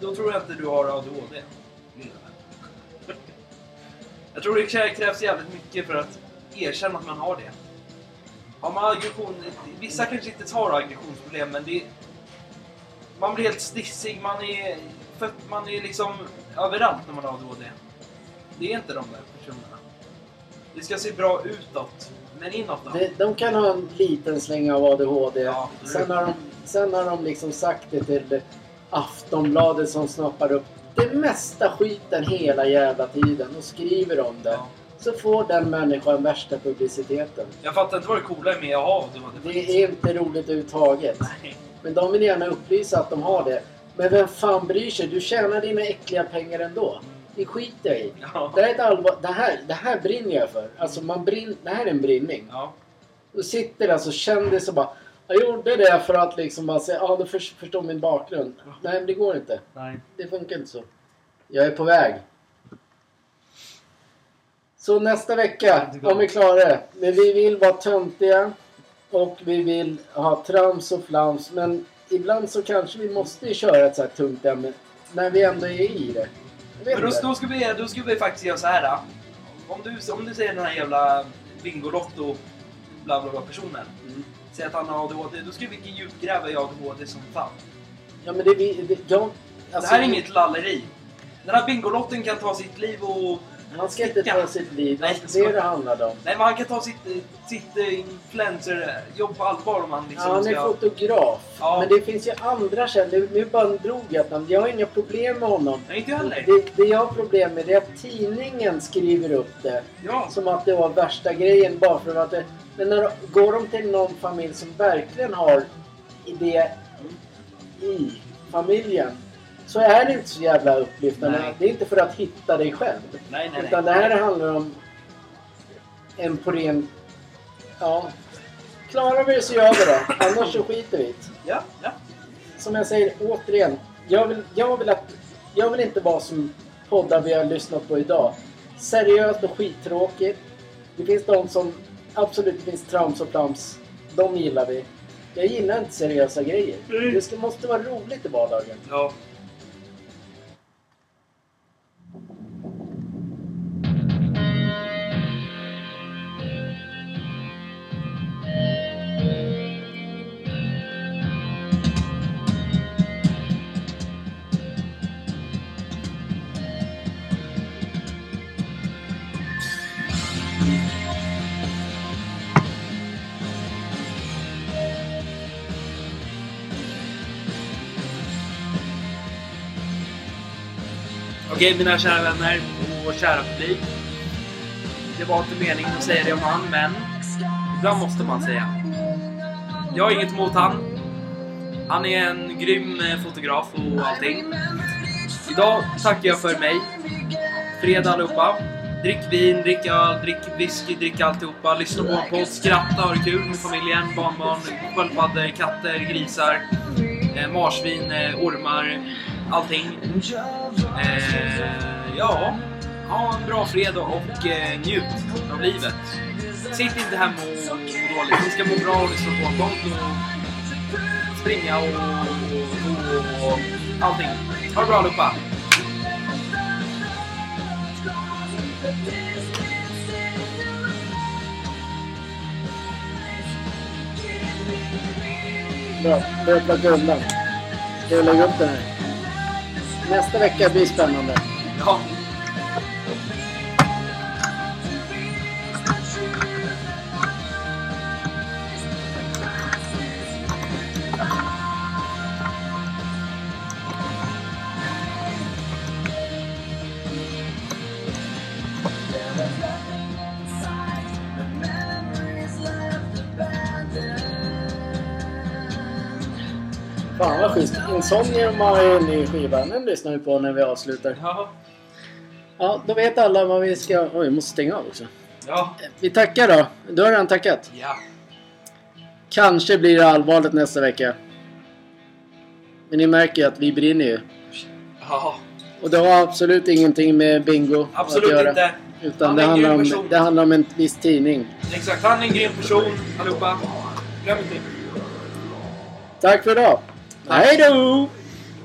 S2: då tror jag inte du har ADHD. lilla vän. Jag tror det krä- krävs jävligt mycket för att erkänna att man har det. Har man aggression, vissa kanske inte har aggressionsproblem, men det, man blir helt stissig, man är, för att man är liksom överallt när man har ADHD. Det är inte de där personerna. Det ska se bra utåt, men inåt då?
S1: De, de kan ha en liten släng av ADHD.
S2: Ja, absolut.
S1: sen, har de, sen har de liksom sagt det till Aftonbladet som snappar upp det mesta skiten hela jävla tiden och skriver om det.
S2: Ja.
S1: Så får den människan värsta publiciteten.
S2: Jag fattar inte vad det coola är med att ha ADHD.
S1: Det är inte roligt överhuvudtaget.
S2: Nej.
S1: Men de vill gärna upplysa att de har det. Men vem fan bryr sig? Du tjänar dina äckliga pengar ändå. Det skiter jag i.
S2: Ja.
S1: Det här, är ett allvar... det, här, det här brinner jag för. Alltså man brin... Det här är en brinning.
S2: ja.
S1: Då sitter alltså kändis och bara Jag gjorde det för att liksom bara säga Ja, du förs- förstår min bakgrund.
S2: Ja.
S1: Nej, men det går inte.
S2: Nej.
S1: Det funkar inte så. Jag är på väg. Så nästa vecka,
S2: Det går.
S1: om vi klarar det. Men vi vill vara töntiga. Och vi vill ha trams och flams. Men ibland så kanske vi måste ju köra ett så här tungt ämne. När vi ändå är i det. Jag vet
S2: Men då,
S1: inte.
S2: då, ska vi, då ska vi faktiskt göra så här. Då. Om, du, om du säger den här jävla Bingolotto bla bla bla personen.
S1: Mm.
S2: Säg att han har ADHD, då ska vi djupgräva i ADHD som fan.
S1: Ja, men det, vi- det, jag, alltså,
S2: det här är inget lalleri. Den här Bingolotten kan ta sitt liv och...
S1: Han ska inte ta sitt liv.
S2: Nej,
S1: Det är det det handlar om.
S2: Nej, men han kan ta sitt, eh, sitt eh, influencer-jobb på allvar om han liksom
S1: ja, han är
S2: ska...
S1: fotograf.
S2: Ja.
S1: Men det finns ju andra kändisar. Nu- Nu bara drog jag att han- Jag har inga problem med honom.
S2: Nej, inte jag heller.
S1: Det, det jag har problem med det är att tidningen skriver upp det
S2: Ja.
S1: som att det var värsta grejen bara för att det... Men när, går de till någon familj som verkligen har i det i familjen så är det inte så jävla upplyftande.
S2: Nej.
S1: Det är inte för att hitta dig själv.
S2: Nej, nej, nej.
S1: Utan det här handlar om en på ren... Ja. Klarar vi det så gör vi det. Annars så skiter vi i det.
S2: Ja, ja.
S1: Som jag säger återigen. Jag vill, jag vill, att, jag vill inte vara som poddar vi har lyssnat på idag. Seriöst och skittråkigt. Det finns de som absolut det finns trams och plams. De gillar vi. Jag gillar inte seriösa grejer.
S2: Nej.
S1: Det ska, måste vara roligt i vardagen.
S2: Ja. Okej, mina kära vänner och kära publik. Det var inte meningen att säga det om han, men ibland måste man säga. Jag har inget emot han. Han är en grym eh, fotograf och allting. Idag tackar jag för mig. Fredag allihopa. Drick vin, drick öl, drick whisky, drick alltihopa. Lyssna på en podd, skratta, ha det kul med familjen, barnbarn, sköldpaddor, katter, grisar, eh, marsvin, eh, ormar, allting. Eh, ja, ha en bra fredag och eh, njut av livet. Sitt inte hemma och må dåligt. Ni ska må bra och lyssna på Kom och springa och, och, och, och allting. Ha det bra allihopa.
S1: Bra, börja plocka undan. Ska jag lägga upp den här? Nästa vecka blir spännande.
S2: Ja.
S1: schysst. Insomnium har ju en ny skiva. Den lyssnar vi på när vi avslutar.
S2: Ja,
S1: Ja, då vet alla vad vi ska... Oj, vi måste stänga av också.
S2: ja,
S1: Vi tackar då. Du har redan tackat.
S2: ja.
S1: Kanske blir det allvarligt nästa vecka. Men ni märker ju att vi brinner ju.
S2: ja.
S1: Och det har absolut ingenting med bingo
S2: Absolut
S1: att göra.
S2: inte.
S1: Utan
S2: Han
S1: det
S2: är en
S1: handlar,
S2: grym
S1: om,
S2: person.
S1: det handlar om en viss tidning.
S2: Exakt, han är en grym person allihopa. Glöm inte det.
S1: Tack för idag! Hej då!